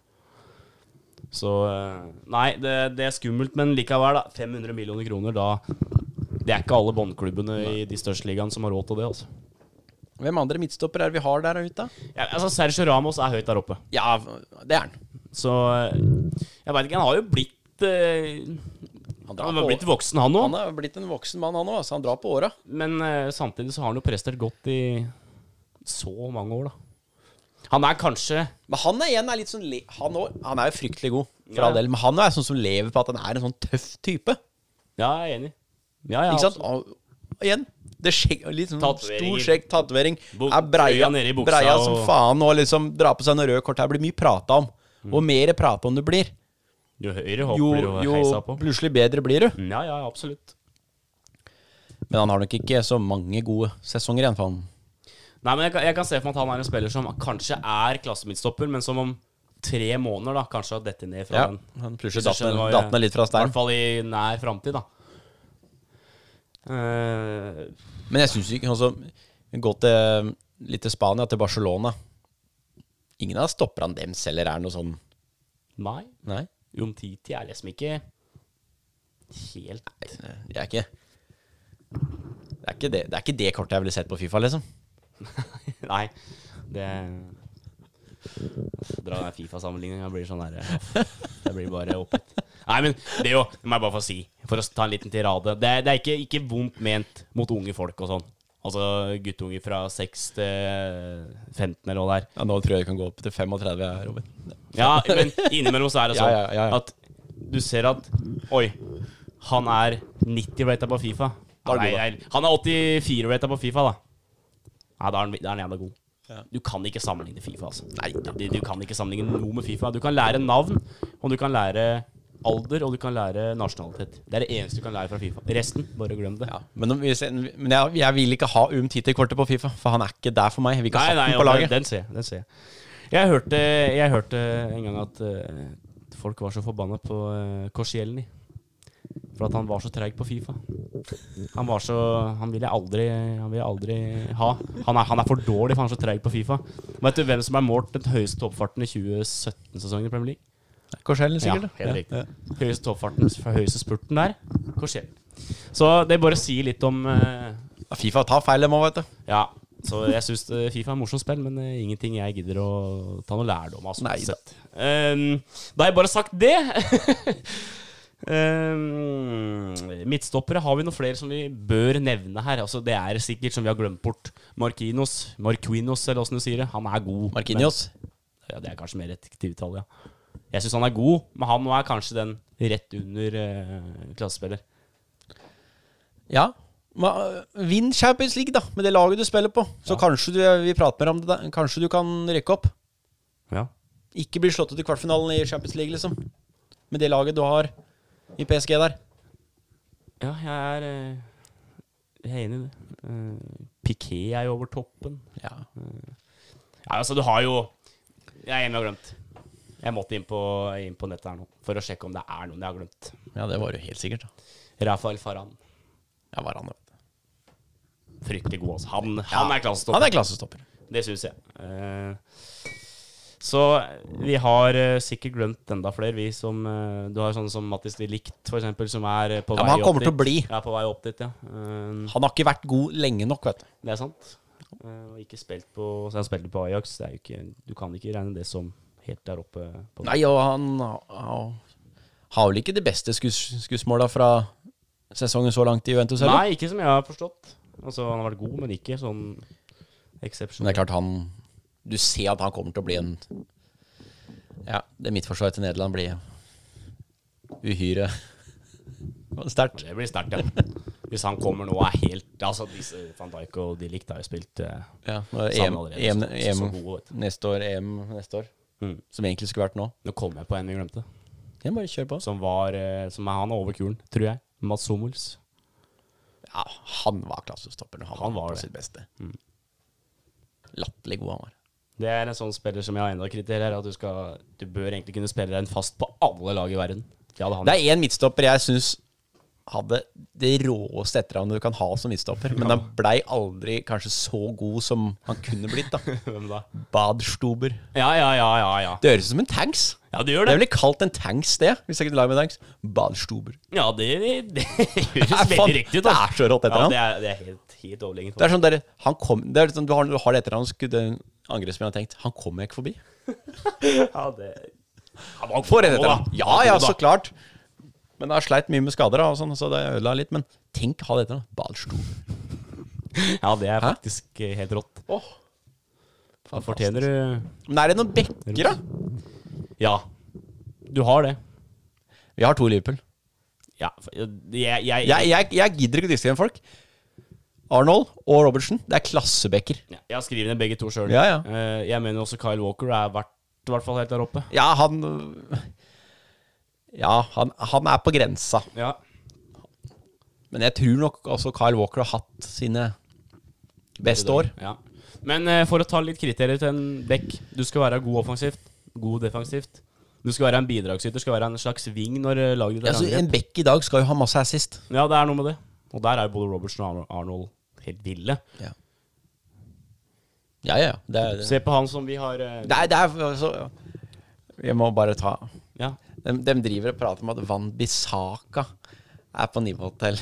Speaker 3: Så eh, Nei, det, det er skummelt, men likevel, da. 500 millioner kroner, da Det er ikke alle båndklubbene i de største ligaene som har råd til det, altså.
Speaker 4: Hvem andre midtstopper er det vi har der ute?
Speaker 3: Ja, altså Sergio Ramos er høyt der oppe,
Speaker 4: Ja, det er han.
Speaker 3: så eh, Jeg veit ikke, han har jo blitt eh,
Speaker 4: Han, drar
Speaker 3: Han har
Speaker 4: på-
Speaker 3: blitt voksen, han
Speaker 4: han
Speaker 3: òg,
Speaker 4: er blitt en voksen mann, han òg. Han drar på åra.
Speaker 3: men eh, samtidig så har han jo prestert godt i så mange år, da. Han er kanskje
Speaker 4: Men han er igjen er litt sånn le han, også, han er jo fryktelig god, for
Speaker 3: Ja,
Speaker 4: all
Speaker 3: ja.
Speaker 4: del. Men han er sånn som lever på at han er en sånn tøff type.
Speaker 3: Ja, jeg er enig. Ja, ja,
Speaker 4: ikke sant? Og, igjen. Det skjegg, litt sånn
Speaker 3: Tatoveringer.
Speaker 4: stor skjegk, tatovering.
Speaker 3: Bo-
Speaker 4: Er breia,
Speaker 3: øya nede i buksa
Speaker 4: breia som
Speaker 3: og-
Speaker 4: faen og liksom dra på seg noe rødt kort. Her blir mye prata om. Og mer prata om det blir,
Speaker 3: Jo høyere
Speaker 4: jo,
Speaker 3: Mm. hopper og
Speaker 4: jo
Speaker 3: heiser på.
Speaker 4: plutselig bedre blir du.
Speaker 3: Ja, ja, absolutt.
Speaker 4: Men han har nok ikke så mange gode sesonger igjen, for han
Speaker 3: Nei, men jeg kan, jeg kan se for meg at han er en spiller som kanskje er klassemidtstopper, men som om tre måneder da kanskje har dette ned fra
Speaker 4: Ja,
Speaker 3: den.
Speaker 4: han plutselig
Speaker 3: Hvis du
Speaker 4: datt ned-
Speaker 3: skjønner hva
Speaker 4: datt
Speaker 3: jeg-
Speaker 4: ned litt fra
Speaker 3: I
Speaker 4: steinen.
Speaker 3: hvert fall i nær framtid, da. Eh,
Speaker 4: Men jeg syns ikke altså, Gå til litt til Spania, til Barcelona. Ingen av stopperne dems heller er noe sånn
Speaker 3: nei,
Speaker 4: Nei.
Speaker 3: Umtiti er liksom ikke helt
Speaker 4: Det Eh, er ikke det er ikke det, det er ikke det kortet jeg ville sett på Fifa, liksom.
Speaker 3: Nei, det Dra den Fifa-sammenligninga blir sånn derre Det blir bare oppgitt. Nei, men det er jo Det må jeg bare få si, for å ta en liten tirade. Det er, det er ikke, ikke vondt ment mot unge folk og sånn. Altså guttunger fra 6 til 15 eller hva det er.
Speaker 4: Ja, nå tror jeg vi kan gå opp til 35, jeg, Robin.
Speaker 3: Ja, men innimellom så er det
Speaker 4: Ja,
Speaker 3: sånn
Speaker 4: ja, ja, ja.
Speaker 3: at du ser at Oi, han er 90 rata på Fifa.
Speaker 4: Da er du
Speaker 3: Nei,
Speaker 4: god, da.
Speaker 3: nei, han er 84 rata på Fifa, da. Nei, da er han, da er han jævla god. Du kan ikke sammenligne Fifa, altså. du, du kan ikke sammenligne noe med Fifa. Du kan lære navn, og du kan lære alder, og du kan lære nasjonalitet. Det er det eneste du kan lære fra Fifa. Resten, bare glem det.
Speaker 4: Ja, men om vi ser- men jeg, jeg vil ikke ha Umtiti-kortet på Fifa, for han er ikke der for meg. Jeg vil ikke ha
Speaker 3: Nei, nei,
Speaker 4: hatten
Speaker 3: ja,
Speaker 4: på
Speaker 3: den,
Speaker 4: laget.
Speaker 3: den ser jeg. Den ser jeg. Jeg, hørte, jeg hørte en gang at eh, folk var så forbanna på uh, Korsielny. For at han var så treig på Fifa. Han var så Han vil jeg aldri, han vil jeg aldri ha. Han er, han er for dårlig, for han er så treig på Fifa. Vet du hvem som ble målt den høyeste toppfarten i 2017-sesongen i Premier League?
Speaker 4: Korsellen, sikkert.
Speaker 3: Ja, helt riktig. Høyeste toppfarten fra høyeste spurten der. Korsielny. Så det bare sier litt om eh,
Speaker 4: Ja. Fifa tar feil, dem òg, vet du.
Speaker 3: ja, så jeg syns Fifa er morsomt spill, men eh, ingenting jeg gidder å ta noe lærdom av. sånn
Speaker 4: Nei da.
Speaker 3: sett. Ehm, da har jeg bare sagt det. Ehm, midtstoppere, har vi noen flere som vi bør nevne her? Altså, det er sikkert som vi har glemt bort. Markinos, Marquinos, eller åssen du sier det. Han er god.
Speaker 4: Markinios.
Speaker 3: Men, ja, det er kanskje mer et aktivtall, ja. Jeg syns han er god, men han nå er kanskje den rett under eh, klassespiller.
Speaker 4: Ja. Ma- Vinn Champions League, da, med det laget du spiller på. Så kanskje du vi prater mer om det. der. Kanskje du kan rykke opp.
Speaker 3: Ja.
Speaker 4: Ikke bli slått ut i kvartfinalen i Champions League, liksom. Med det laget du har i PSG der.
Speaker 3: Ja, jeg er, eh, jeg er enig i det. Eh, Piqué er jo over toppen.
Speaker 4: Ja.
Speaker 3: Ja, altså, du har jo Jeg er enig og glemt. Jeg måtte inn på, inn på nettet her nå for å sjekke om det er noen jeg har glemt.
Speaker 4: ja, det var jo helt sikkert. da.
Speaker 3: Rafael Farhan.
Speaker 4: Ja, var han, vet du.
Speaker 3: Fryktelig god, altså. Han, han er
Speaker 4: Han
Speaker 3: klassestopper.
Speaker 4: er klassestopper.
Speaker 3: Det syns jeg. Eh, så vi har eh, sikkert glemt enda flere, vi som eh, Du har sånne som Mattis de Licht, for eksempel, som er eh, på
Speaker 4: Ja, men
Speaker 3: vei
Speaker 4: han kommer
Speaker 3: opp
Speaker 4: til å
Speaker 3: dit.
Speaker 4: bli.
Speaker 3: Ja, på vei opp dit, ja. Eh,
Speaker 4: Han har ikke vært god lenge nok, vet du.
Speaker 3: Det er sant. Eh, Og ikke spilt på Så han spilte på Ajax. Det er jo ikke, du kan ikke regne det som helt der oppe. På
Speaker 4: Nei, og han har- har vel ikke de beste skuss- skussmåla fra sesongen så langt i Juventus heller?
Speaker 3: Nei, ikke som jeg har forstått. Altså, han har vært god, men ikke sånn
Speaker 4: Men det
Speaker 3: Eksepsjonell.
Speaker 4: er klart han Du ser at han kommer til å bli en Ja, det midtforsvaret til Nederland blir uhyre sterkt.
Speaker 3: Det blir sterkt, ja. Hvis han kommer nå og er helt Altså, disse van Dijk og de likt har jo spilt eh,
Speaker 4: Ja, når
Speaker 3: sammen
Speaker 4: EM,
Speaker 3: allerede,
Speaker 4: EM,
Speaker 3: så- så-
Speaker 4: EM
Speaker 3: så gode, vet du.
Speaker 4: neste år, EM neste år,
Speaker 3: Mm.
Speaker 4: som egentlig skulle vært nå.
Speaker 3: Nå kom jeg på en vi glemte,
Speaker 4: Ja, bare kjør på.
Speaker 3: som var eh, Som er han over kulen, tror jeg. Mats Hummels.
Speaker 4: Ja, han var klassestopper når han,
Speaker 3: Han var
Speaker 4: var på
Speaker 3: det. Mm.
Speaker 4: sitt beste. Latterlig god han var.
Speaker 3: Det er en sånn spiller som jeg har enda kriterier, at du skal Du bør egentlig kunne spille deg inn fast på alle lag i verden. Ja, det,
Speaker 4: Det er én midtstopper jeg syns hadde det råeste etternavnet du kan ha som midtstopper, men han blei aldri kanskje så god som han kunne blitt, da.
Speaker 3: Hvem da?
Speaker 4: Badstuber.
Speaker 3: Ja, ja, ja, ja, ja.
Speaker 4: Det høres ut som en tanks.
Speaker 3: Ja, det gjør
Speaker 4: Det
Speaker 3: det.
Speaker 4: er vel kalt en tanks, det, hvis jeg kunne lage med tanks. Badstuber.
Speaker 3: Ja, det, det høres
Speaker 4: Nei, faen,
Speaker 3: veldig riktig ut.
Speaker 4: det
Speaker 3: altså.
Speaker 4: er så rått etternavn.
Speaker 3: Ja, det er, det er helt, helt overlegent.
Speaker 4: Det er sånn der, han kom, det er sånn, du, har, du har det etternavnet, så skulle den angrepsspilleren ha tenkt Han kommer jeg ikke forbi.
Speaker 3: Ja, det... Han var
Speaker 4: For
Speaker 3: god
Speaker 4: et
Speaker 3: da.
Speaker 4: etternavn.
Speaker 3: Han
Speaker 4: Ja
Speaker 3: var
Speaker 4: ja,
Speaker 3: god da.
Speaker 4: så klart. Men han har sleit mye med skader, da, og sånn, så det ødela litt. Men tenk å ha det etternavnet. Badstuber.
Speaker 3: Ja, det er
Speaker 4: Hæ?
Speaker 3: faktisk eh, helt rått.
Speaker 4: Oh,
Speaker 3: Da fortjener du
Speaker 4: Men er det noen bekker, da?
Speaker 3: Ja. Du har det.
Speaker 4: Vi har to i Liverpool.
Speaker 3: Ja, for- jeg, jeg,
Speaker 4: Jeg, jeg, jeg gidder ikke å diskutere folk. Arnold og Robertsen, det er klassebekker.
Speaker 3: Ja, jeg har skrevet ned begge to sjøl.
Speaker 4: Ja, ja.
Speaker 3: Jeg mener også Kyle Walker er verdt i hvert fall helt der oppe.
Speaker 4: Ja, han øh, Ja, han, han er på grensa.
Speaker 3: Ja.
Speaker 4: Men jeg tror nok også Kyle Walker har hatt sine beste år.
Speaker 3: Ja. Men eh, for å ta litt kriterier til en bekk Du skal være god offensivt, god defensivt. Du skal være en bidragsyter, skal være en slags ving når eh, laget ditt
Speaker 4: Ja,
Speaker 3: er
Speaker 4: så Altså, en
Speaker 3: angrep.
Speaker 4: bekk i dag skal jo ha masse assist.
Speaker 3: Ja, det er noe med det. Og der er jo både Robertson og Arno- Arnold helt ville.
Speaker 4: Ja, ja. ja. Det er, det
Speaker 3: Se på han som vi har eh,
Speaker 4: er, det er altså, Vi må bare ta
Speaker 3: Ja.
Speaker 4: de, de driver og prater om at Van Bissaka er på nivå til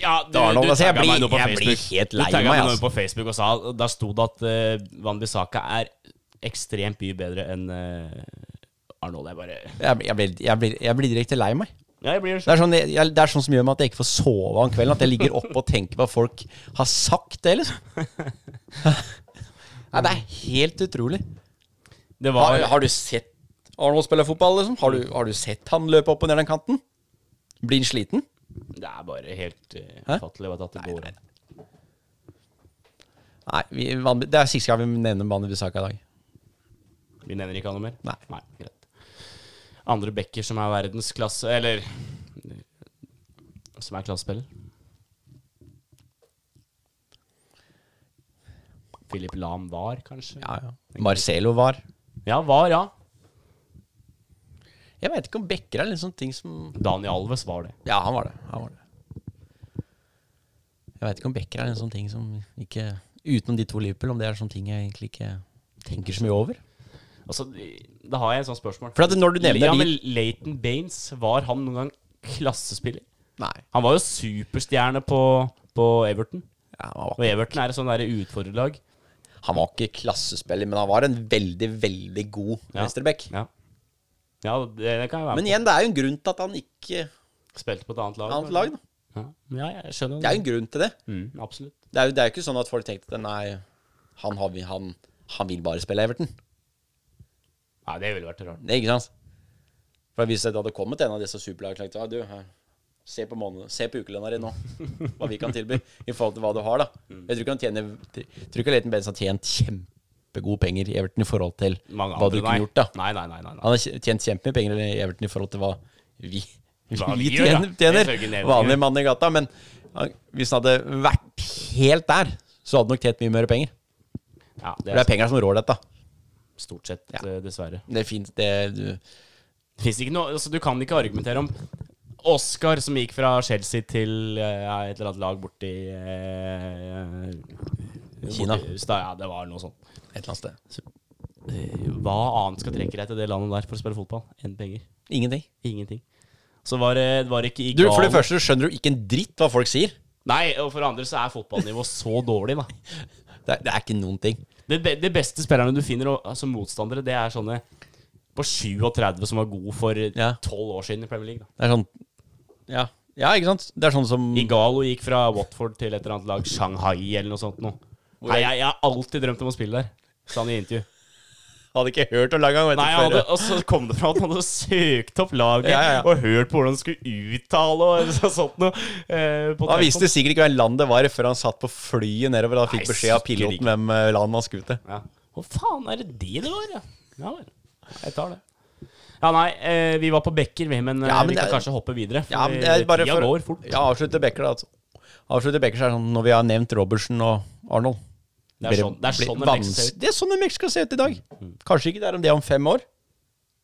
Speaker 3: Ja, du,
Speaker 4: Darnold,
Speaker 3: du
Speaker 4: altså, jeg
Speaker 3: tagget
Speaker 4: blir-
Speaker 3: meg nå på
Speaker 4: jeg blir
Speaker 3: Facebook.
Speaker 4: helt
Speaker 3: Du
Speaker 4: lei
Speaker 3: tagget
Speaker 4: meg,
Speaker 3: nå
Speaker 4: altså.
Speaker 3: på Facebook og sa Der sto det at uh, Van Bissaka er ekstremt mye bedre enn eh, Arnold. Jeg bare
Speaker 4: Jeg, jeg, blir, jeg, blir, jeg blir direkte lei meg.
Speaker 3: Ja, jeg blir
Speaker 4: Det er, sånn, jeg, det er sånn som gjør meg at jeg ikke får sove om kvelden. At jeg ligger oppe og tenker på hva folk har sagt det, liksom. Nei, det er helt utrolig.
Speaker 3: Det var
Speaker 4: Har, har du sett Arnold spille fotball, liksom? Har du, har du sett han løpe opp og ned den kanten? Blir han sliten?
Speaker 3: Det er bare helt eh,
Speaker 4: Hæ?
Speaker 3: ufattelig vet du, at det går an.
Speaker 4: Nei, vi, Van- det er siste gang vi nevner Manu Bissaka i dag.
Speaker 3: Vi nevner ikke han noe mer?
Speaker 4: Nei.
Speaker 3: greit. Andre backer som er verdensklasse Eller som er klassespiller? Philip Lahm var, kanskje?
Speaker 4: Ja, ja. Marcelo var.
Speaker 3: ja var, ja.
Speaker 4: Jeg veit ikke om Becker er litt sånn ting som
Speaker 3: Daniel Alves var det.
Speaker 4: Ja, han var det. Han var det. Jeg veit ikke om Becker er en sånn ting som ikke Utenom de to Liverpool, om det er sånn ting jeg egentlig ikke tenker så mye over.
Speaker 3: Altså, Da har jeg en sånn spørsmål.
Speaker 4: For at når du nevner
Speaker 3: ja,
Speaker 4: de-
Speaker 3: men Leighton Baines, var han noen gang klassespiller?
Speaker 4: Nei.
Speaker 3: Han var jo superstjerne på, på Everton.
Speaker 4: Ja, han,
Speaker 3: Og
Speaker 4: var,
Speaker 3: Everton er et sånn der utfordrerlag.
Speaker 4: han var ikke klassespiller, men han var en veldig, veldig god
Speaker 3: Ja.
Speaker 4: venstreback.
Speaker 3: Ja. ja, det, det kan jeg være
Speaker 4: Men
Speaker 3: med
Speaker 4: igjen, det er jo en grunn til at han ikke
Speaker 3: på. Spilte på et annet lag.
Speaker 4: Annet lag, da.
Speaker 3: Ja, ja jeg skjønner
Speaker 4: Det er jo en grunn til det.
Speaker 3: Mm, absolutt.
Speaker 4: Det er jo, det er jo ikke sånn at folk tenkte at nei, han, har vi, han, han vil bare spille Everton.
Speaker 3: Nei, det ville vært rart.
Speaker 4: Det er ikke sant? For Hvis det hadde kommet en av disse superlagene og du, her, se på, måned, se på ukelønna di nå, hva vi kan tilby i forhold til hva du har, da.
Speaker 3: Mm.
Speaker 4: Jeg tror ikke han tjener jeg tror ikke Leighton Baines har tjent kjempegode penger i Everton i forhold til
Speaker 3: Mange
Speaker 4: hva du
Speaker 3: andre,
Speaker 4: kunne
Speaker 3: nei.
Speaker 4: gjort, da.
Speaker 3: Nei, nei, nei. nei, nei.
Speaker 4: Han har tj- tjent kjempemye penger i Everton i forhold til hva vi,
Speaker 3: Hva
Speaker 4: vi
Speaker 3: vi gjør,
Speaker 4: tjener,
Speaker 3: ja.
Speaker 4: tjener
Speaker 3: Ifølge Nederland.
Speaker 4: vanlig mann i gata. Men han- hvis han hadde vært helt der, så hadde han nok tjent mye mer penger.
Speaker 3: Ja, det
Speaker 4: For det
Speaker 3: er
Speaker 4: er penger som rår dette.
Speaker 3: stort sett,
Speaker 4: Ja.
Speaker 3: eh, dessverre.
Speaker 4: Det fins, det du
Speaker 3: Det finnes ikke noe altså, Du kan ikke argumentere om Oscar som gikk fra Chelsea til eh, et eller annet lag borti eh,
Speaker 4: Kina.
Speaker 3: borti Østad. ja, det var noe sånt.
Speaker 4: Et eller annet sted.
Speaker 3: Eh, Hva annet skal trekke deg til det landet der for å spille fotball enn penger?
Speaker 4: Ingenting.
Speaker 3: Ingenting. Så var det, var det ikke i
Speaker 4: Du, for det
Speaker 3: galen-
Speaker 4: første så skjønner du ikke en dritt hva folk sier.
Speaker 3: Nei, og for det andre så er fotballnivået så dårlig, da.
Speaker 4: Det er, det er ikke noen ting.
Speaker 3: Det, be de beste spillerne du finner og- som motstandere, det er sånne på 37 som var gode for
Speaker 4: Ja.
Speaker 3: 12 år siden i Premier League. Da.
Speaker 4: Det er sånn Ja, ja ikke sant? Det er sånn som
Speaker 3: Igalo gikk fra Watford til et eller annet lag, Shanghai eller noe sånt. Nå.
Speaker 4: Hvor
Speaker 3: Nei,
Speaker 4: jeg
Speaker 3: jeg, jeg har alltid drømt om å spille der, sa han i intervju.
Speaker 4: hadde ikke hørt om laget
Speaker 3: Nei, han
Speaker 4: engang.
Speaker 3: hadde, og så kom det fra at han hadde søkt opp laget
Speaker 4: Ja, ja, ja.
Speaker 3: og hørt på hvordan han skulle uttale og så- sånt noe. eh, på
Speaker 4: Han
Speaker 3: telefon.
Speaker 4: visste sikkert ikke hvem land det var før han satt på flyet nedover
Speaker 3: Nei,
Speaker 4: og fikk beskjed av
Speaker 3: sikkert
Speaker 4: piloten hvem eh, land man skulle til.
Speaker 3: Ja. Hva faen er det det det var, ja? Ja vel. Jeg tar det. Ja, nei, eh, vi var på Bekker, vi, men, eh,
Speaker 4: Ja, men
Speaker 3: vi kan
Speaker 4: det-
Speaker 3: kanskje hoppe videre. For eh,
Speaker 4: Ja, men det er bare
Speaker 3: tida
Speaker 4: for
Speaker 3: går fort.
Speaker 4: ja, avslutte Becker, da. Altså. Avslutte Becker så er det sånn når vi har nevnt Robertsen og Arnold.
Speaker 3: Det er sånn, det er
Speaker 4: blir
Speaker 3: sånn en
Speaker 4: vans-
Speaker 3: Becker ser ut. Mm.
Speaker 4: Det er sånn en Becker skal se ut i dag. Kanskje ikke det er om det om fem år,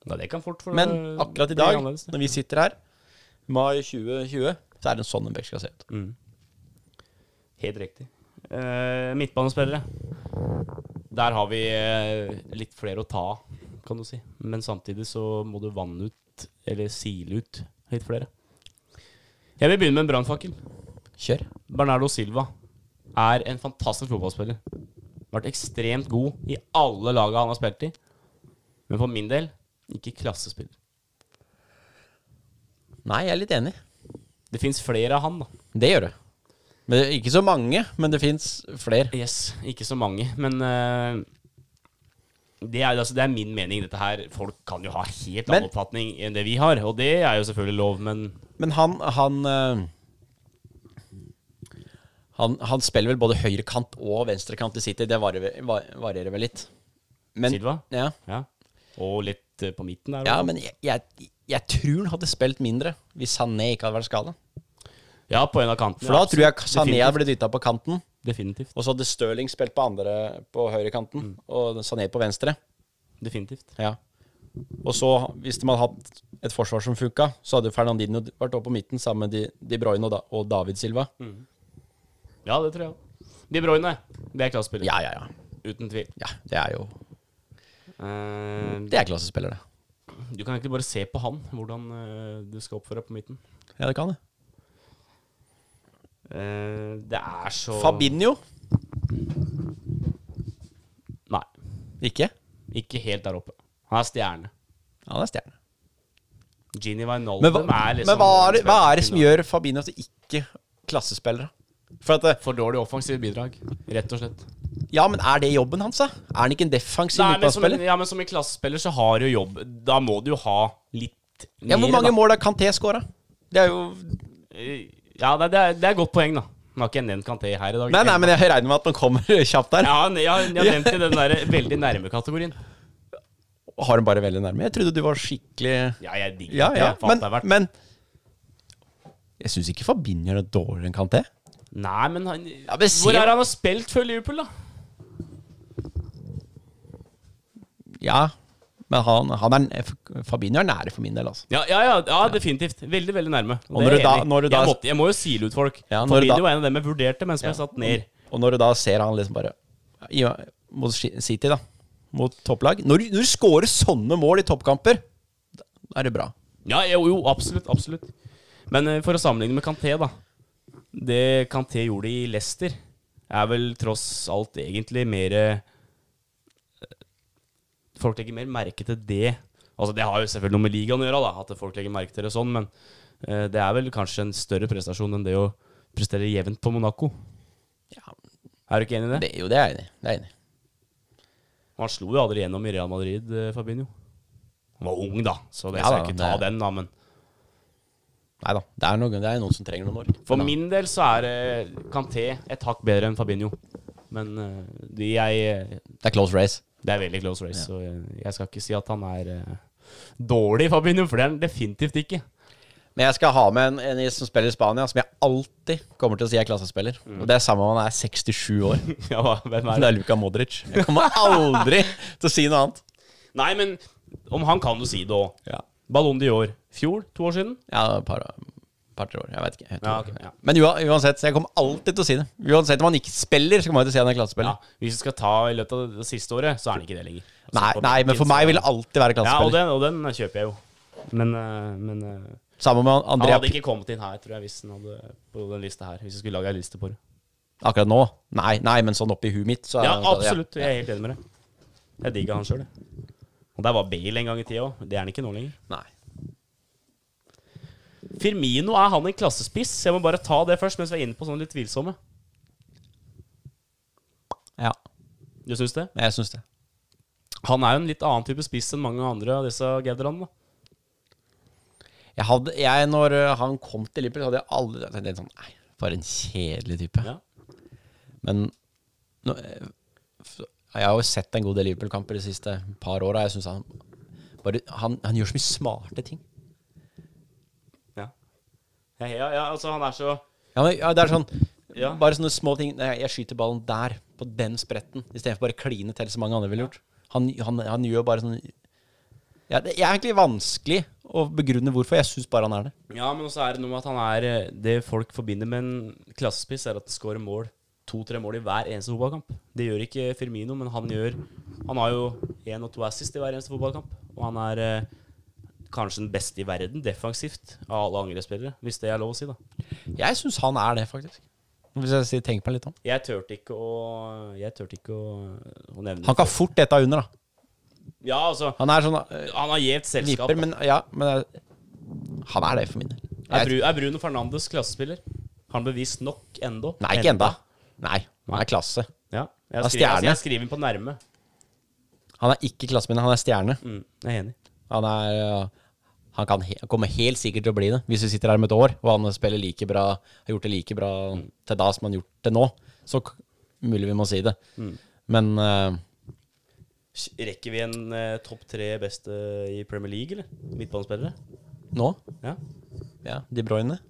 Speaker 3: Nei, det kan fort for
Speaker 4: men
Speaker 3: eh,
Speaker 4: akkurat
Speaker 3: bli
Speaker 4: i dag,
Speaker 3: annerledes, det.
Speaker 4: når vi sitter her, mai 2020, så er det sånn en Becker skal se ut.
Speaker 3: Mm. Helt riktig. Eh, midtbanespillere. Der har vi eh, litt flere å ta av, kan du si. Men samtidig så må du vanne ut, eller sile ut, litt flere. Jeg vil begynne med en brannfakkel.
Speaker 4: Kjør.
Speaker 3: Bernardo Silva er en fantastisk fotballspiller. Vært ekstremt god i alle laga han har spilt i. Men for min del ikke klassespiller.
Speaker 4: Nei, jeg er litt enig.
Speaker 3: Det fins flere av han, da.
Speaker 4: Det gjør det. Men det er Ikke så mange, men det fins flere.
Speaker 3: Yes, ikke så mange, men eh, det, er, altså, det er min mening, dette her. Folk kan jo ha helt annen
Speaker 4: Men-
Speaker 3: oppfatning enn det vi har, og det er jo selvfølgelig lov, men
Speaker 4: Men han han, eh, han han spiller vel både høyrekant og venstrekant i City. Det varierer, var- varierer vel litt. Men,
Speaker 3: Silva?
Speaker 4: Ja,
Speaker 3: ja. Og litt eh, på midten der.
Speaker 4: ja
Speaker 3: også.
Speaker 4: men jeg, jeg, jeg tror han hadde spilt mindre hvis Sané ikke hadde vært skada.
Speaker 3: ja, på en av kantene.
Speaker 4: For da tror jeg
Speaker 3: absolutt.
Speaker 4: Sané hadde blitt dytta på kanten,
Speaker 3: Definitivt.
Speaker 4: og så hadde Stirling spilt på andre på høyrekanten, og Sané på venstre.
Speaker 3: Definitivt. Definitivt.
Speaker 4: Mm. Ja. Og så, hvis de hadde hatt et forsvar som funka, så hadde Fernandinho vært oppe på midten sammen med De, de Bruyne og, da, og David Silva.
Speaker 3: Ja, det tror jeg også. De Bruyne, det er klassespiller.
Speaker 4: Ja, ja, ja,
Speaker 3: Uten tvil.
Speaker 4: ja. Det er jo
Speaker 3: Eh,
Speaker 4: Det er klassespillere.
Speaker 3: Du kan egentlig bare se på han, hvordan eh, du skal oppføre deg på midten.
Speaker 4: Ja, det kan det.
Speaker 3: Eh, det er så
Speaker 4: Fabinho?
Speaker 3: Nei,
Speaker 4: Ikke?
Speaker 3: ikke helt der oppe. Han er stjerne.
Speaker 4: Han er stjerne.
Speaker 3: Genie Wijnaldum
Speaker 4: Men, hva,
Speaker 3: er liksom
Speaker 4: men hva, er, det- hva er det som gjør Fabinho til ikke klassespillere? For at, eh,
Speaker 3: For dårlig offensivt bidrag, rett og slett.
Speaker 4: ja, men er det jobben hans, da? Er han ikke en defensiv
Speaker 3: Nei, men som, en,
Speaker 4: midtbanespiller?
Speaker 3: ja, men som en klassespiller så har du jo jobb. Da må du jo ha litt
Speaker 4: Ja, hvor
Speaker 3: mer, da.
Speaker 4: mange mål har Kanté skåra? Det er jo
Speaker 3: Eh, Ja, det, det, er, det er et godt poeng, da. Nå har ikke jeg nevnt Kanté her i dag.
Speaker 4: Nei, nei, men jeg regner med at han kommer kjapt der.
Speaker 3: Ja, jeg, har- jeg har nevnt det i den der veldig nærme kategorien.
Speaker 4: Har han bare veldig nærme? Jeg trodde du var skikkelig
Speaker 3: Ja, jeg digger
Speaker 4: Ja,
Speaker 3: det,
Speaker 4: ja,
Speaker 3: for alt
Speaker 4: men,
Speaker 3: det er verdt.
Speaker 4: men Jeg syns ikke Fabinho er dårligere enn Kanté.
Speaker 3: Nei, men han
Speaker 4: men se-
Speaker 3: Hvor er han har spilt før Liverpool, da?
Speaker 4: Ja, men han, han er, Fabinho er nære for min del, altså.
Speaker 3: Ja, ja, ja, ja definitivt. Veldig veldig nærme.
Speaker 4: Og
Speaker 3: Det
Speaker 4: når
Speaker 3: er
Speaker 4: du da-
Speaker 3: enig.
Speaker 4: når du da-
Speaker 3: jeg, måtte, jeg må jo sile ut folk.
Speaker 4: Ja, når du
Speaker 3: Fabinho
Speaker 4: da-
Speaker 3: var en av dem jeg vurderte, men som jeg satt ned.
Speaker 4: Og når du da ser han liksom bare i, Mot Shi- City, da. Mot topplag. Når, du- når du scorer sånne mål i toppkamper, da da er det bra.
Speaker 3: Ja, jo, jo, absolutt. absolutt Men eh, for å sammenligne med Kanté, da. Det Kanté gjorde i Leicester, er vel tross alt egentlig mer eh, Folk legger mer merke til det. Altså Det har jo selvfølgelig noe med ligaen å gjøre, da at folk legger merke til det sånn, men eh, det er vel kanskje en større prestasjon enn det å prestere jevnt på Monaco.
Speaker 4: Ja,
Speaker 3: Er du ikke enig i det?
Speaker 4: det, jo, det er jeg enig i. Det er jeg enig i.
Speaker 3: Han slo jo aldri gjennom i Real Madrid, eh, Fabinho. Han var ung, da, så det
Speaker 4: Ja
Speaker 3: skal
Speaker 4: da,
Speaker 3: jeg ikke ta
Speaker 4: det-
Speaker 3: den, da. Men
Speaker 4: Nei da. Det er, noen, det er noen som trenger noen år.
Speaker 3: for
Speaker 4: Men da-
Speaker 3: min del så er eh, Kanté et hakk bedre enn Fabinho. Men eh, de jeg eh,
Speaker 4: Det er close race.
Speaker 3: Det er veldig close race, så eh, jeg skal ikke si at han er eh, dårlig, Fabinho, for det er han definitivt ikke.
Speaker 4: Men jeg skal ha med en, en som spiller i Spania, som jeg alltid kommer til å si er klassespiller. Og det er samme om han er 67 år.
Speaker 3: ja, hva- hvem Mm. er
Speaker 4: Det
Speaker 3: det?
Speaker 4: er Luka Modric. Jeg kommer aldri til å si noe annet.
Speaker 3: Nei, men om han kan du si det òg.
Speaker 4: Ja,
Speaker 3: Ballon d'Or fjor, to år siden.
Speaker 4: ja et par, par-tre år. Jeg vet ikke. Jeg
Speaker 3: Ja,
Speaker 4: tror-
Speaker 3: ok, ja.
Speaker 4: Men ua- uansett, så jeg kommer alltid til å si det. Uansett om han ikke spiller, så kommer jeg til å si han er
Speaker 3: Ja,
Speaker 4: klassespiller.
Speaker 3: hvis vi skal ta i løpet av det siste året, så er han ikke det lenger. Altså,
Speaker 4: Nei,
Speaker 3: på
Speaker 4: nei, men for
Speaker 3: benken,
Speaker 4: meg
Speaker 3: så-
Speaker 4: vil det alltid
Speaker 3: Ja,
Speaker 4: være
Speaker 3: og
Speaker 4: klassespiller.
Speaker 3: den, og den kjøper jeg jo. Men, eh, men eh,
Speaker 4: Sammen med
Speaker 3: han
Speaker 4: Andrea
Speaker 3: hadde ikke kommet inn her, tror jeg, hvis han hadde på den lista her. Hvis jeg skulle lage ei liste på det.
Speaker 4: akkurat nå. Nei, nei, men sånn oppi huet mitt, så er
Speaker 3: Ja,
Speaker 4: han-
Speaker 3: absolutt. Jeg er helt enig med deg. Jeg digga han sjøl, jeg. Og der var Bale en gang i tida òg. Det er han ikke nå lenger.
Speaker 4: Ja. Nei.
Speaker 3: Firmino er han en klassespiss. Jeg må bare ta det først, mens vi er inne på sånne litt tvilsomme.
Speaker 4: Ja,
Speaker 3: Du syns det?
Speaker 4: jeg syns det.
Speaker 3: Han er jo en litt annen type spiss enn mange andre av disse gauderne. da.
Speaker 4: Jeg hadde, jeg, når eh, han kom til Liverpool, hadde jeg aldri jeg tenkte sånn Nei, for en kjedelig type.
Speaker 3: Ja.
Speaker 4: Men nå, eh, f- jeg har jo sett en god del Liverpool-kamper de siste par åra. Jeg syns han, bare- han, han gjør så mye smarte ting.
Speaker 3: Ja. Ja, ja, ja, altså han er så
Speaker 4: Ja, men, ja, det er sånn
Speaker 3: Ja.
Speaker 4: Bare sånne små ting. Nei, jeg skyter ballen der, på den spretten, istedenfor bare å kline til som mange andre ville gjort. Han, han, han gjør bare sånn ja, Det er egentlig vanskelig å begrunne hvorfor. Jeg syns bare han er det.
Speaker 3: Ja, men også er det noe med at han er eh, Det folk forbinder med en klassespiss, er at han scorer mål. To-tre mål i hver eneste fotballkamp. Det gjør ikke Firmino, men han gjør Han har jo én og to assist i hver eneste fotballkamp. Og han er eh, kanskje den beste i verden defensivt av alle angrepsspillere, hvis det er lov å si, da.
Speaker 4: Jeg syns han er det, faktisk. Hvis jeg sier, tenker meg litt om.
Speaker 3: Jeg turte ikke å Jeg turte ikke å, å nevne
Speaker 4: Han kan fort dette under, da.
Speaker 3: Ja, altså
Speaker 4: Han er sånn eh,
Speaker 3: Han har gjevt selskap.
Speaker 4: vipper,
Speaker 3: da.
Speaker 4: men ja, men jeg- Han er det for min del.
Speaker 3: Er,
Speaker 4: Jeg-
Speaker 3: Bru, er Bruno Fernandes klassespiller? Har han bevist nok ennå?
Speaker 4: Nei, ikke enda. Nei, han er klasse.
Speaker 3: Ja.
Speaker 4: Han er
Speaker 3: Jeg skriver,
Speaker 4: stjerne.
Speaker 3: altså, jeg skriver den på nærme.
Speaker 4: Han er ikke klassen min, han er stjerne.
Speaker 3: Mm, jeg er enig.
Speaker 4: Han er øh, Han kan he kommer helt sikkert til å bli det hvis vi sitter her om et år og han spiller like bra har gjort det like bra til da som han har gjort det nå. Så k- mulig vi må si det. Men øh,
Speaker 3: Rekker vi en eh, topp tre beste i Premier League, eller? Midtbanespillere?
Speaker 4: nå
Speaker 3: Ja.
Speaker 4: Ja, De Bruyne.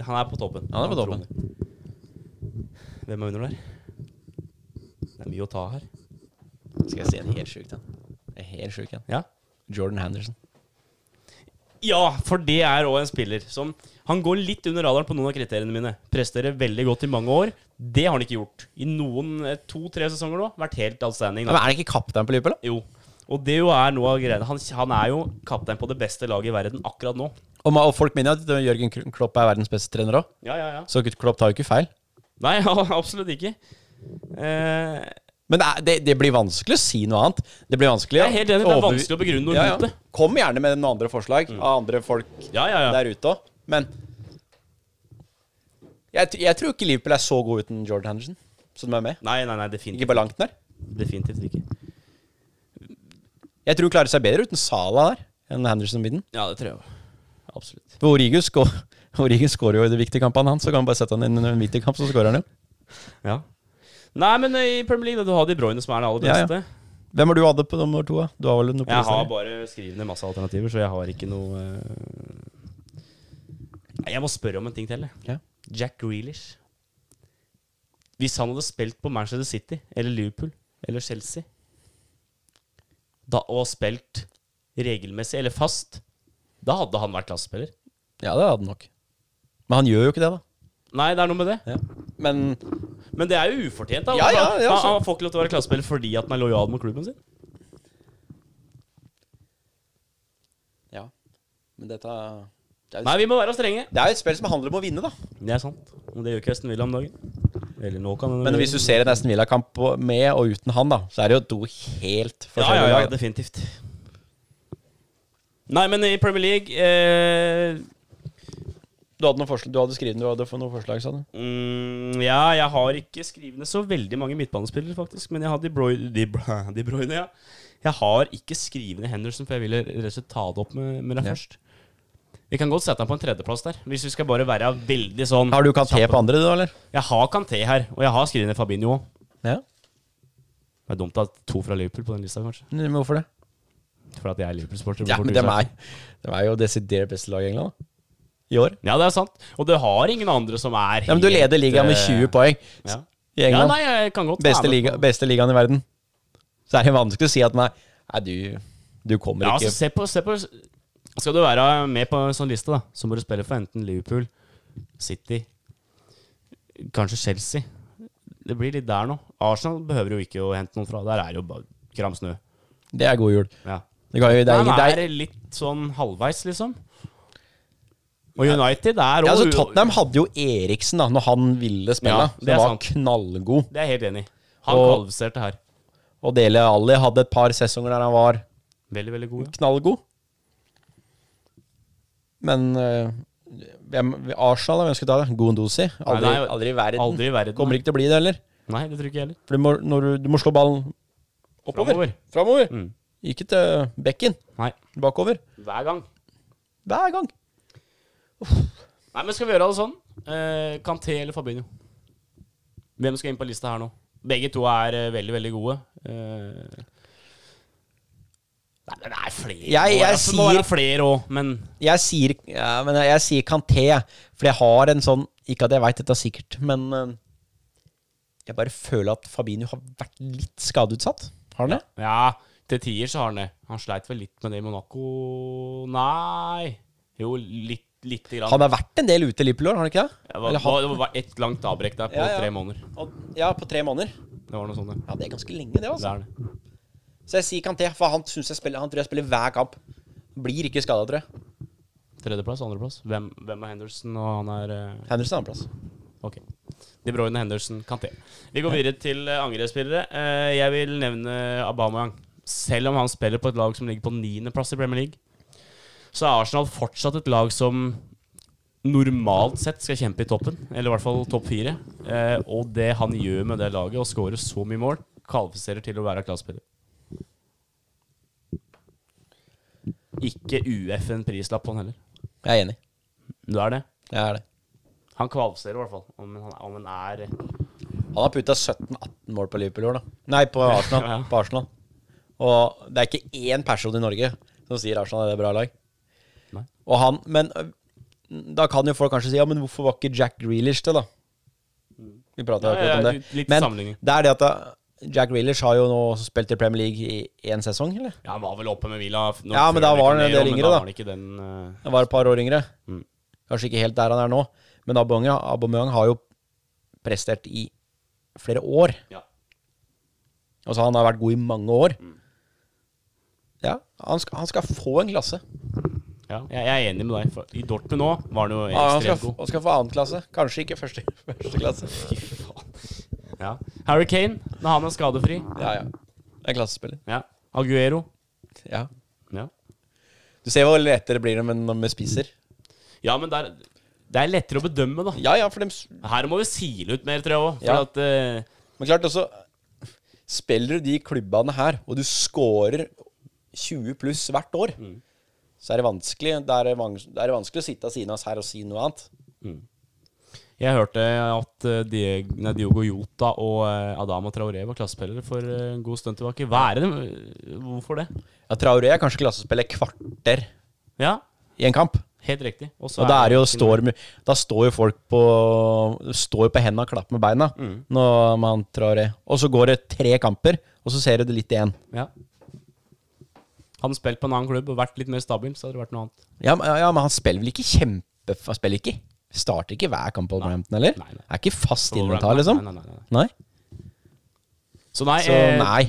Speaker 3: Han er på toppen.
Speaker 4: Han er på
Speaker 3: tror det. Hvem er under der? Det er mye å ta her.
Speaker 4: Skal jeg si en helt sjuk en? En Helt sjuk en.
Speaker 3: Ja,
Speaker 4: Jordan Henderson.
Speaker 3: ja for det er òg en spiller som Han går litt under radaren på noen av kriteriene mine. Presterer veldig godt i mange år. Det har han ikke gjort. I noen eh, to-tre sesonger nå. Vært helt outstanding.
Speaker 4: Ja,
Speaker 3: Da.
Speaker 4: Men er han ikke kaptein på Liverpool, da?
Speaker 3: Jo. Og det jo er noe av greiene. Han, han er jo kaptein på det beste laget i verden akkurat nå.
Speaker 4: Og, ma- og folk mener jo at Jørgen Kl- Klopp er verdens beste trener òg,
Speaker 3: Ja, ja, ja.
Speaker 4: så Klopp tar jo ikke feil.
Speaker 3: Nei, absolutt ikke. Eh,
Speaker 4: Men det, er- det, det blir vanskelig å si noe annet. Det blir vanskelig
Speaker 3: Jeg er helt enig, det er vanskelig å begrunne noe
Speaker 4: ja,
Speaker 3: rundt
Speaker 4: ja.
Speaker 3: det.
Speaker 4: Kom gjerne med noen andre forslag av andre folk
Speaker 3: Ja, ja, ja.
Speaker 4: der ute òg, men jeg, t- jeg tror ikke Liverpool er så god uten Jordan Henderson, som de er med.
Speaker 3: Nei, nei, nei,
Speaker 4: Ikke
Speaker 3: definitivt,
Speaker 4: på langt nær.
Speaker 3: definitivt ikke.
Speaker 4: Jeg tror de klarer seg bedre uten Sala der enn Henderson midden.
Speaker 3: Ja, det tror jeg også. Absolutt.
Speaker 4: For Origus skå- Origus skårer jo i de viktige kampene, han, så kan han bare sette han inn i en viktig kamp, så skårer han jo.
Speaker 3: Ja. Nei, men eh, i Premier League, da, du har De Bruyne som er det aller
Speaker 4: Ja, ja.
Speaker 3: beste.
Speaker 4: Hvem har du hatt på nummer to? da? Du har vel noe på
Speaker 3: Jeg
Speaker 4: listen,
Speaker 3: har
Speaker 4: eller?
Speaker 3: bare skrevet ned masse alternativer, så jeg har ikke noe eh, Nei, Jeg må spørre om en ting til. jeg.
Speaker 4: Ja.
Speaker 3: Jack Grealish. Hvis han hadde spilt på Manchester City eller Liverpool eller Chelsea da, og spilt regelmessig eller fast, da hadde han vært klassespiller.
Speaker 4: ja, det hadde han nok. Men han gjør jo ikke det, da.
Speaker 3: Nei, det er noe med det.
Speaker 4: Men
Speaker 3: Men det er jo ufortjent. da
Speaker 4: Ja, ja, ja,
Speaker 3: Han-
Speaker 4: så-
Speaker 3: Han får ikke lov til å være klassespiller fordi at han er lojal mot klubben sin.
Speaker 4: Ja. Men dette det er,
Speaker 3: Nei, vi må være strenge.
Speaker 4: det er jo et spill som handler om å vinne, da.
Speaker 3: Det er sant. Og det gjør ikke Aston Villa om dagen. Eller nå kan den
Speaker 4: Men hvis du ser en Aston Villa-kamp på- med og uten han, da, så er det jo to
Speaker 3: Ja,
Speaker 4: helt
Speaker 3: ja,
Speaker 4: forskjellige
Speaker 3: ja,
Speaker 4: lag.
Speaker 3: definitivt. Nei, men i Premier League eh,
Speaker 4: Du hadde, noen forslag, du hadde skrevet du hadde fått noen forslag, sa du?
Speaker 3: mm, Ja, jeg har ikke skrevet ned så veldig mange midtbanespillere, faktisk. Men jeg har De Bruyne, de, Bru- de Bruyne ja. Jeg har ikke skrevet ned Henderson, for jeg ville rett og slett ta det opp med, med deg
Speaker 4: Ja.
Speaker 3: først. Vi kan godt sette ham på en tredjeplass der, hvis vi skal bare være veldig sånn
Speaker 4: Har du Kanté på andre, du, eller?
Speaker 3: Jeg har Kanté her, og jeg har skrevet ned Fabinho òg.
Speaker 4: Ja.
Speaker 3: Det er dumt at to fra Liverpool på den lista, kanskje.
Speaker 4: Men hvorfor det?
Speaker 3: For at jeg er Liverpool-sporter.
Speaker 4: Ja,
Speaker 3: blir fort
Speaker 4: men dem
Speaker 3: usagt.
Speaker 4: er, dem er jo desidert beste lag i England, da. I år.
Speaker 3: Ja, det er sant. Og du har ingen andre som er eh,
Speaker 4: Ja, men du leder ligaen med 20 poeng
Speaker 3: Ja.
Speaker 4: i
Speaker 3: ja,
Speaker 4: England.
Speaker 3: nei, jeg kan godt
Speaker 4: beste,
Speaker 3: være med
Speaker 4: liga,
Speaker 3: på-
Speaker 4: beste ligaen i verden. Så er det vanskelig å si at nei, nei du, du kommer
Speaker 3: Ja,
Speaker 4: ikke
Speaker 3: altså, se på, se på Skal du være med på en sånn liste, da, så må du spille for enten Liverpool, City, kanskje Chelsea. Det blir litt der nå. Arsenal behøver jo ikke å hente noen fra. Der er jo bare kram snø.
Speaker 4: Det er god jul.
Speaker 3: Ja.
Speaker 4: Det kan jo, det er,
Speaker 3: Han
Speaker 4: ingen- det er,
Speaker 3: er litt sånn halvveis, liksom. Og United er
Speaker 4: ja, altså,
Speaker 3: også-
Speaker 4: Tottenham hadde jo Eriksen da Når han ville spille.
Speaker 3: Ja,
Speaker 4: Så
Speaker 3: det er
Speaker 4: han var
Speaker 3: sant.
Speaker 4: knallgod.
Speaker 3: Det er jeg helt enig i. Han
Speaker 4: Og-
Speaker 3: kvalifiserte her.
Speaker 4: Og Dele Alli hadde et par sesonger der han var
Speaker 3: Veldig, veldig god. Ja.
Speaker 4: knallgod. Men øh, hvem, Arsenal, hvem skal ta det? Gondosi? Aldri,
Speaker 3: Nei, nei,
Speaker 4: aldri i verden.
Speaker 3: aldri i verden,
Speaker 4: Kommer
Speaker 3: nei.
Speaker 4: ikke til å bli det heller.
Speaker 3: Nei, det tror ikke jeg heller.
Speaker 4: For du må, når du, du må slå ballen oppover.
Speaker 3: Framover. Mm.
Speaker 4: Framover. Ikke til bekken.
Speaker 3: Nei.
Speaker 4: Bakover.
Speaker 3: Hver gang.
Speaker 4: Hver gang.
Speaker 3: Nei, men skal vi gjøre det sånn? Eh, Kanté eller Fabinho? Hvem skal inn på lista her nå? Begge to er eh, veldig, veldig gode. Eh, Nei, men det er flere.
Speaker 4: Jeg-
Speaker 3: nå,
Speaker 4: jeg
Speaker 3: altså, Nå er det
Speaker 4: sier-
Speaker 3: flere òg, men
Speaker 4: Jeg sier, ja, men jeg, jeg sier Kanté, jeg. for jeg har en sånn Ikke at jeg veit dette sikkert, men eh, jeg bare føler at Fabinho har vært litt skadeutsatt. Har han det?
Speaker 3: Ja, til tider så har han det. Han sleit vel litt med det i Monaco Nei. Jo, litt, lite grann.
Speaker 4: Han har vært en del ute i Liverpool, har han ikke det?
Speaker 3: det, var,
Speaker 4: Eller har-
Speaker 3: det var et langt avbrekk der på
Speaker 4: Ja, ja.
Speaker 3: tre måneder.
Speaker 4: Og- Ja, på tre måneder.
Speaker 3: Det var noe sånt, ja.
Speaker 4: Ja, Det er ganske lenge, det.
Speaker 3: Det
Speaker 4: altså
Speaker 3: er det.
Speaker 4: Så jeg sier Kanté, for han, synes jeg spiller, han tror jeg spiller hver kamp. Blir ikke skada, tror jeg.
Speaker 3: Tredjeplass, andreplass. Hvem, hvem er Henderson, og han er eh,
Speaker 4: Henderson er en plass.
Speaker 3: Ok. De Bruyne, Henderson, Kanté. Vi går videre til eh, angrepsspillere. Eh, jeg vil nevne Aubameyang. Selv om han spiller på et lag som ligger på niendeplass i Premier League, så er Arsenal fortsatt et lag som normalt sett skal kjempe i toppen, eller i hvert fall topp fire. Eh, og det han gjør med det laget, å skåre så mye mål, kvalifiserer til å være klassespiller. Ikke UF-en prislapp på han heller.
Speaker 4: Jeg er enig.
Speaker 3: Du er det.
Speaker 4: Jeg er det.
Speaker 3: Han kvalifiserer i hvert fall, om han, om han er
Speaker 4: Han har putta 17-18 mål på Liverpool i år, da. Nei, på Arsenal.
Speaker 3: Ja.
Speaker 4: på Arsenal. Og det er ikke én person i Norge som sier Arsenal er et bra lag.
Speaker 3: Nei.
Speaker 4: Og han, Men øh, da kan jo folk kanskje si ja, men hvorfor var ikke Jack Grealish det, da? Vi prata
Speaker 3: Ja, ja,
Speaker 4: akkurat om
Speaker 3: litt-
Speaker 4: det.
Speaker 3: litt
Speaker 4: Men
Speaker 3: sammenligning.
Speaker 4: det er det at da, Jack Grealish har jo nå spilt i Premier League i én sesong, eller?
Speaker 3: Ja, han var vel oppe med Villa. f- når-
Speaker 4: Ja, men da
Speaker 3: før
Speaker 4: var han
Speaker 3: rykket
Speaker 4: en del
Speaker 3: ned, men
Speaker 4: yngre, da.
Speaker 3: var han ikke den eh,
Speaker 4: Han var et par år yngre.
Speaker 3: Mm.
Speaker 4: Kanskje ikke helt der han er nå. Men Aubameyang, Aubameyang har jo prestert i flere år.
Speaker 3: ja.
Speaker 4: Altså, han har vært god i mange år. Ja, han skal, han skal få en klasse.
Speaker 3: ja. Jeg, jeg er enig med deg. For I Dortmund nå var han jo
Speaker 4: Ja, han, skal,
Speaker 3: ekstremt
Speaker 4: få-
Speaker 3: god.
Speaker 4: han skal få annen klasse. Kanskje ikke første, første klasse.
Speaker 3: Ja. Harry Kane, når han er skadefri.
Speaker 4: Ja, ja. En klassespiller.
Speaker 3: Ja. Aguero.
Speaker 4: Ja.
Speaker 3: Ja,
Speaker 4: Du ser hvor lettere det blir når når vi spiser.
Speaker 3: ja men der, det er lettere å bedømme, da.
Speaker 4: Ja, ja, for dem s-
Speaker 3: Her må vi sile ut mer, tror jeg òg.
Speaker 4: Ja.
Speaker 3: Ja.
Speaker 4: Men klart også Spiller du de klubbene her, og du scorer 20 pluss hvert år, så er det vanskelig Det er, vans- det er vanskelig å sitte av siden av oss her og si noe annet.
Speaker 3: Jeg hørte at eh, Dieg, nei, Diogo Jota og eh, Adama Traoré var klassespillere for eh, en god stund tilbake. Hva er det? Hvorfor det?
Speaker 4: Ja, Traoré er kanskje klassespiller kvarter
Speaker 3: Ja,
Speaker 4: i en kamp.
Speaker 3: helt riktig. Og så
Speaker 4: Og da, er det jo
Speaker 3: ikke noe-
Speaker 4: står, da står jo folk på Står jo på hendene og klapper med beina
Speaker 3: Mm.
Speaker 4: når man trår i. Og så går det tre kamper, og så ser du det litt igjen.
Speaker 3: Ja. Hadde han spilt på en annen klubb og vært litt mer stabil, så hadde det vært noe annet.
Speaker 4: Ja, men- ja, men han spiller vel ikke kjempe... Han spiller ikke Starter ikke hver kamp på Wolverhampton, eller?
Speaker 3: Nei, nei.
Speaker 4: Er ikke fast
Speaker 3: På
Speaker 4: inventar, liksom?
Speaker 3: Wolverhampton, nei, nei, nei,
Speaker 4: Nei?
Speaker 3: Så nei,
Speaker 4: Så
Speaker 3: eh,
Speaker 4: nei.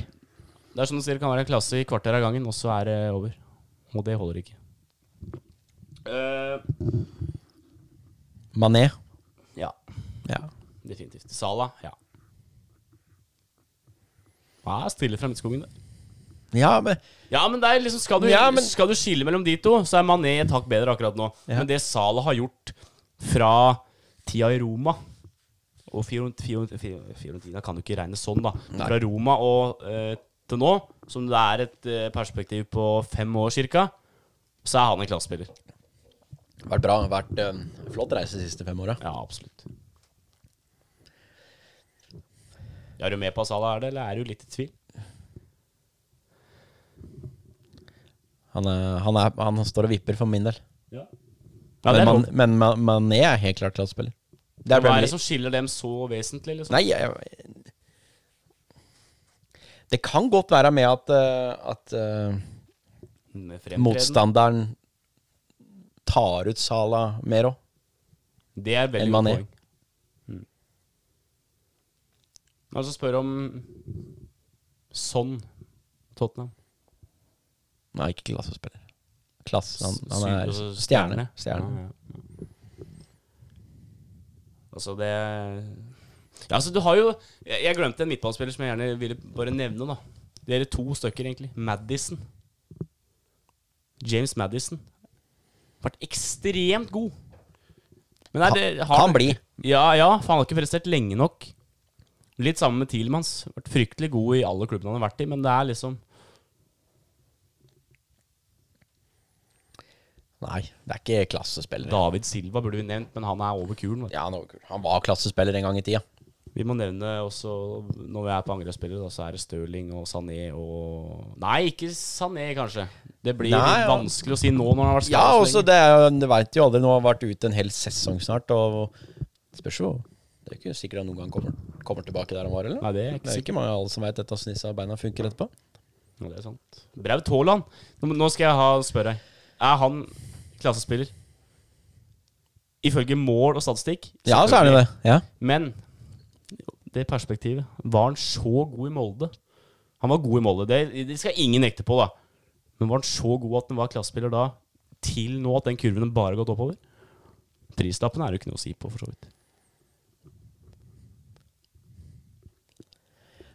Speaker 3: det er som du sier, det kan være en klasse i kvarter av gangen, og så er det over. Og det holder ikke.
Speaker 4: Mané.
Speaker 3: ja,
Speaker 4: Ja.
Speaker 3: definitivt. Sala, ja. Ja, stille fra midtskogen, det.
Speaker 4: ja, men
Speaker 3: Ja, men det er liksom, skal, du,
Speaker 4: Ja, men-
Speaker 3: skal du skille mellom de to, så er Mané et hakk bedre akkurat nå.
Speaker 4: Ja.
Speaker 3: Men det Sala har gjort fra tida i Roma Og Fiorent- Fiorent- Fiorent- Fiorentina kan jo ikke regne sånn, da. Fra Roma og eh, til nå, som det er et eh, perspektiv på fem år cirka, så er han en klassespiller.
Speaker 4: vært bra. Vært eh, flott reise de siste fem åra.
Speaker 3: Ja, absolutt. Er du med på at Sala er det, eller er du litt i tvil?
Speaker 4: Han, er- han, er- han står og vipper for min del.
Speaker 3: Ja, det
Speaker 4: men,
Speaker 3: er
Speaker 4: man,
Speaker 3: lov.
Speaker 4: men Ma- Mané er helt klart klassespiller. Det
Speaker 3: Hva
Speaker 4: Premier
Speaker 3: er det
Speaker 4: League.
Speaker 3: som skiller dem så vesentlig? Liksom?
Speaker 4: Nei, jeg, Det kan godt være med at, eh, at eh,
Speaker 3: Med fremtreden.
Speaker 4: motstanderen tar ut Sala mer òg.
Speaker 3: Det er veldig
Speaker 4: Enn
Speaker 3: godt
Speaker 4: Mané.
Speaker 3: poeng. Mm. Altså spør om Sånn Tottenham.
Speaker 4: Nei, ikke klassespiller. Klasse, han, han
Speaker 3: Syd-
Speaker 4: er
Speaker 3: altså
Speaker 4: stjerne. stjerne.
Speaker 3: Ja, ja. Altså, det ja, altså, du har jo Jeg, jeg glemte en midtbanespiller som jeg gjerne ville bare nevne, da. Det er to stykker, egentlig. Madison. James Madison. Vært ekstremt god. Men er det, har,
Speaker 4: Kan bli.
Speaker 3: Ja, ja, for han har ikke prestert lenge nok. Litt sammen med Tielmans. Vært fryktelig god i alle klubbene han har vært i, men det er liksom
Speaker 4: Nei, det er ikke klassespillere.
Speaker 3: David Silva burde vi nevnt, men han er over kulen. vet du.
Speaker 4: Ja, han, var kul. han var klassespiller en gang i tida.
Speaker 3: Vi må nevne også, når vi er på angrepsspillere, da, så er det Stirling og Sané og Nei, ikke Sané, kanskje. Det blir
Speaker 4: Nei,
Speaker 3: litt
Speaker 4: ja.
Speaker 3: vanskelig å si nå når han har vært
Speaker 4: Ja,
Speaker 3: skadet
Speaker 4: også
Speaker 3: så lenge.
Speaker 4: det er jo- Du veit jo aldri, nå har vært ute en hel sesong snart, og spørs jo Det er ikke sikkert han noen gang kommer, kommer tilbake der han var, eller?
Speaker 3: Nei, det er ikke
Speaker 4: det er ikke mange av alle som veit dette åssen disse beina funker etterpå.
Speaker 3: Ja, det er sant. Braut Haaland. Nå, nå skal jeg ha, spørre deg. Er han klassespiller? Ifølge mål og statistikk?
Speaker 4: Ja, så er det det. Ja.
Speaker 3: Men det perspektivet Var han så god i Molde? Han var god i Molde, det, det skal ingen nekte på, da. Men var han så god at han var klassespiller da, til nå at den kurven bare har gått oppover? Prislappen er det jo ikke noe å si på, for så vidt.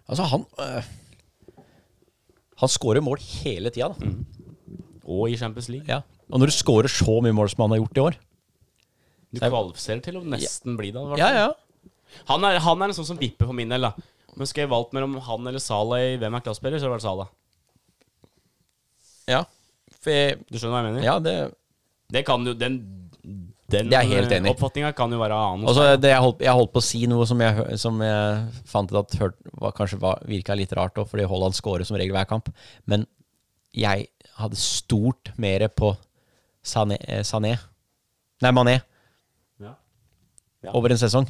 Speaker 4: Altså, han øh, Han scorer mål hele tida, da.
Speaker 3: Og i Champions League.
Speaker 4: Ja. Og når du scorer så mye mål som han har gjort i år
Speaker 3: Du kvalifiserer til å nesten bli det. i hvert
Speaker 4: Ja,
Speaker 3: fall.
Speaker 4: ja.
Speaker 3: Han, er, han er en sånn som vipper for min del, da. Men skulle jeg valgt mellom han eller Salah i hvem er klassespiller, så hadde det vært Salah.
Speaker 4: Ja, For jeg,
Speaker 3: Du skjønner hva jeg mener?
Speaker 4: ja det
Speaker 3: Det kan jo, den den
Speaker 4: Det er jeg helt enig i.
Speaker 3: oppfatninga kan jo være annen.
Speaker 4: Og så altså, det jeg, holdt, jeg holdt på å si noe som jeg, hø- som jeg fant ut at hørt, var, kanskje var, virka litt rart, også, fordi Haaland scorer som regel hver kamp. Men jeg hadde stort mer på Sané, eh, Sané Nei, Mané
Speaker 3: Ja. Mm.
Speaker 4: over en sesong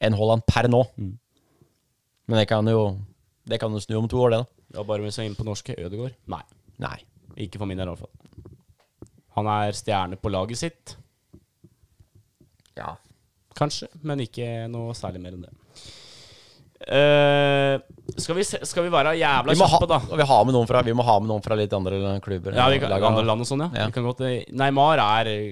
Speaker 4: enn Haaland per nå. Men det kan jo Det kan jo snu om to år, det, da.
Speaker 3: Ja, bare hvis jeg er inne på norske, Ødegaard? Nei.
Speaker 4: Nei.
Speaker 3: Ikke for min del, i hvert fall. Han er stjerne på laget sitt,
Speaker 4: Ja.
Speaker 3: kanskje, men ikke noe særlig mer enn det. Eh, skal, vi se, skal vi være jævla
Speaker 4: Vi må, ha,
Speaker 3: kjappe, da?
Speaker 4: og vi, har med noen fra, vi må ha med noen fra litt andre klubber.
Speaker 3: Ja, vi kan,
Speaker 4: lag, da.
Speaker 3: andre land og sånn, ja.
Speaker 4: Ja.
Speaker 3: Vi kan godt, eh, Neymar er eh,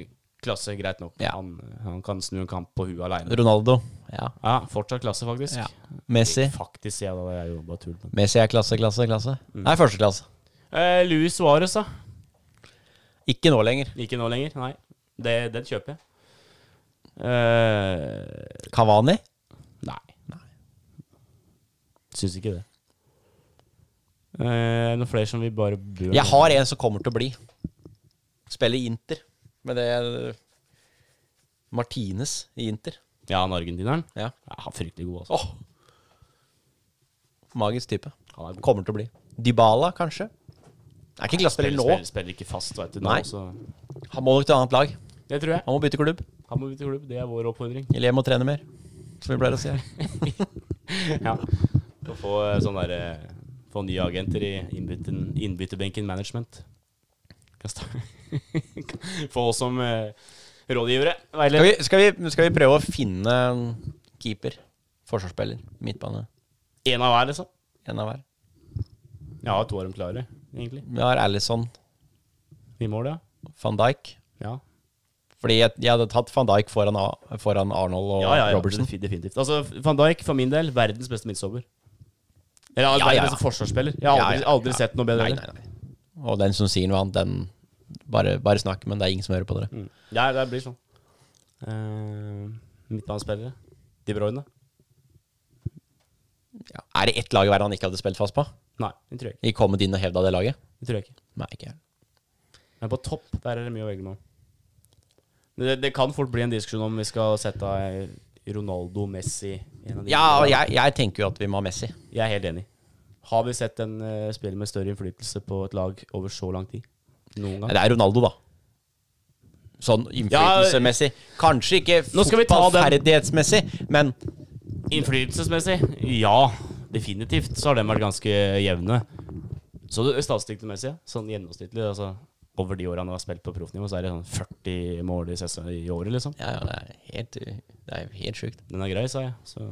Speaker 3: klasse, greit nok.
Speaker 4: Ja.
Speaker 3: Han, han kan snu en kamp på huet aleine.
Speaker 4: Ronaldo. Ja.
Speaker 3: Ja, fortsatt klasse, faktisk.
Speaker 4: ja. Messi.
Speaker 3: Faktisk, sier jeg da. Det er jo bare tull. men-
Speaker 4: Messi er klasse, klasse, klasse.
Speaker 3: Mm.
Speaker 4: Nei, første klasse.
Speaker 3: Eh, Luis Suárez, da.
Speaker 4: Ikke nå lenger.
Speaker 3: Ikke nå lenger. Nei, det, den kjøper jeg. Eh,
Speaker 4: Kavani?
Speaker 3: nei. Syns ikke det. Eh, noen flere som vi bare bør
Speaker 4: Jeg har en som kommer til å bli. Spille i Inter. Men det er Martines i Inter.
Speaker 3: Ja, han argentineren.
Speaker 4: Ja.
Speaker 3: Ja, han er fryktelig god, altså.
Speaker 4: Åh. Magisk type.
Speaker 3: Han er god.
Speaker 4: Kommer til å bli. Dybala, kanskje? Er ikke glasspiller
Speaker 3: Spiller,
Speaker 4: nå.
Speaker 3: spiller, spiller ikke fast, vet du. Nå,
Speaker 4: Nei.
Speaker 3: så-
Speaker 4: Han må nok til et annet lag.
Speaker 3: Det tror jeg.
Speaker 4: Han må bytte klubb.
Speaker 3: Han må bytte klubb. Det er vår oppfordring.
Speaker 4: Eller hjem og trene mer. Som vi pleier å si her.
Speaker 3: Ja. Å få eh, sånn derre Få nye agenter i innbytten- innbytterbenken management. Kan sta- Få oss som eh, rådgivere.
Speaker 4: Skal
Speaker 3: Veiledere.
Speaker 4: vi, skal, vi, skal vi prøve å finne en keeper? Forsvarsspiller. Midtbane.
Speaker 3: Én av hver, liksom.
Speaker 4: En av hver.
Speaker 3: Jeg har to av dem klare, egentlig.
Speaker 4: Vi har Alison
Speaker 3: I mål, ja.
Speaker 4: van Dijk.
Speaker 3: Ja,
Speaker 4: Fordi jeg, jeg hadde tatt van Dijk foran, A- foran Arnold og
Speaker 3: ja, ja, ja
Speaker 4: Robertson.
Speaker 3: defi- definitivt. Altså, Van Dijk, for min del, verdens beste midtstopper. Eller altså,
Speaker 4: ja,
Speaker 3: verdens
Speaker 4: ja.
Speaker 3: beste forsvarsspiller. Jeg har aldri,
Speaker 4: Ja, ja,
Speaker 3: aldri
Speaker 4: ja.
Speaker 3: sett noe bedre.
Speaker 4: Nei, nei, nei. Og den som sier noe annet, den bare, bare snakk, men det er ingen som hører på dere.
Speaker 3: Mm. Ja, det blir sånn. Uh, Midtbanespillere. De Bruyne?
Speaker 4: Ja. Er det ett lag hver han ikke hadde spilt fast på?
Speaker 3: Nei, det tror jeg ikke.
Speaker 4: Ikke kommet inn og hevda det laget?
Speaker 3: Det tror jeg ikke.
Speaker 4: Nei, ikke jeg.
Speaker 3: Men på topp, der er det mye å velge mellom. Men Det, det kan fort bli en diskusjon om vi skal sette eh, Ronaldo, Messi en av de-
Speaker 4: Ja, og jeg, jeg tenker jo at vi må ha Messi.
Speaker 3: Jeg er helt enig. Har vi sett en eh, spiller med større innflytelse på et lag over så lang tid? Noen gang?
Speaker 4: Nei, Det er Ronaldo, da. Sånn innflytelsesmessig. Kanskje ikke
Speaker 3: Nå skal vi ta den.
Speaker 4: fotballferdighetsmessig, men
Speaker 3: Innflytelsesmessig? Ja, definitivt. Så har den vært ganske jevne. Så du statsdiktmessig, sånn gjennomsnittlig, altså over de årene han har spilt på proffnivå, så er det sånn 40 mål i, sesong, i året, liksom.
Speaker 4: ja, ja, det er helt, det er helt sjukt.
Speaker 3: Den er grei, sa jeg. Så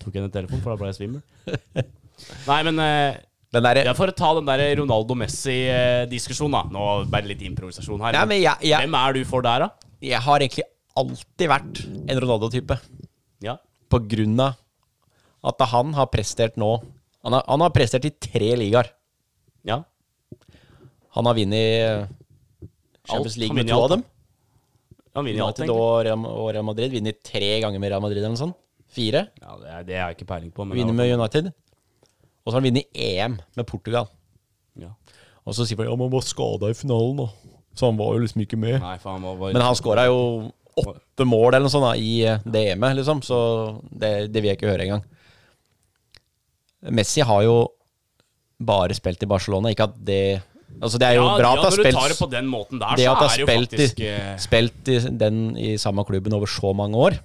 Speaker 3: tok jeg den telefonen, for da ble jeg svimmel. Nei, men eh,
Speaker 4: Den derre
Speaker 3: jeg får ta den der Ronaldo-Messi-diskusjonen, da. Nå ble det litt improvisasjon her.
Speaker 4: Nei, men jeg, jeg,
Speaker 3: Hvem er du for der, da?
Speaker 4: jeg har egentlig alltid vært en Ronaldo-type.
Speaker 3: Ja.
Speaker 4: på grunn av at han har prestert nå Han har, han har prestert i tre ligaer.
Speaker 3: ja.
Speaker 4: Han har vunnet eh, Champions
Speaker 3: Han
Speaker 4: League med
Speaker 3: vinner
Speaker 4: to
Speaker 3: alt,
Speaker 4: av dem.
Speaker 3: Han vinner jo alt,
Speaker 4: United
Speaker 3: egentlig.
Speaker 4: og Real, og Real Madrid. Vunnet tre ganger med Real Madrid eller noe sånt. Fire.
Speaker 3: Ja, det, er, det har jeg ikke peiling på. Men
Speaker 4: Vinner med United. Og så har han vunnet EM med Portugal.
Speaker 3: ja.
Speaker 4: Og så sier folk ja, men han var skada i finalen, da. Så han var jo liksom ikke med.
Speaker 3: Nei, faen, hva var
Speaker 4: Men han skåra jo åtte mål eller noe sånt da, i eh, det EM-et, liksom. Så det, det vil jeg ikke høre engang. Messi har jo bare spilt i Barcelona. Ikke at det Altså, det er jo
Speaker 3: Ja,
Speaker 4: bra
Speaker 3: ja,
Speaker 4: at han
Speaker 3: når du tar
Speaker 4: har
Speaker 3: det på
Speaker 4: spilt
Speaker 3: den måten der,
Speaker 4: det
Speaker 3: så er det
Speaker 4: at han
Speaker 3: jo
Speaker 4: har spilt,
Speaker 3: faktisk
Speaker 4: i,
Speaker 3: eh,
Speaker 4: spilt i den i samme klubben over så mange år.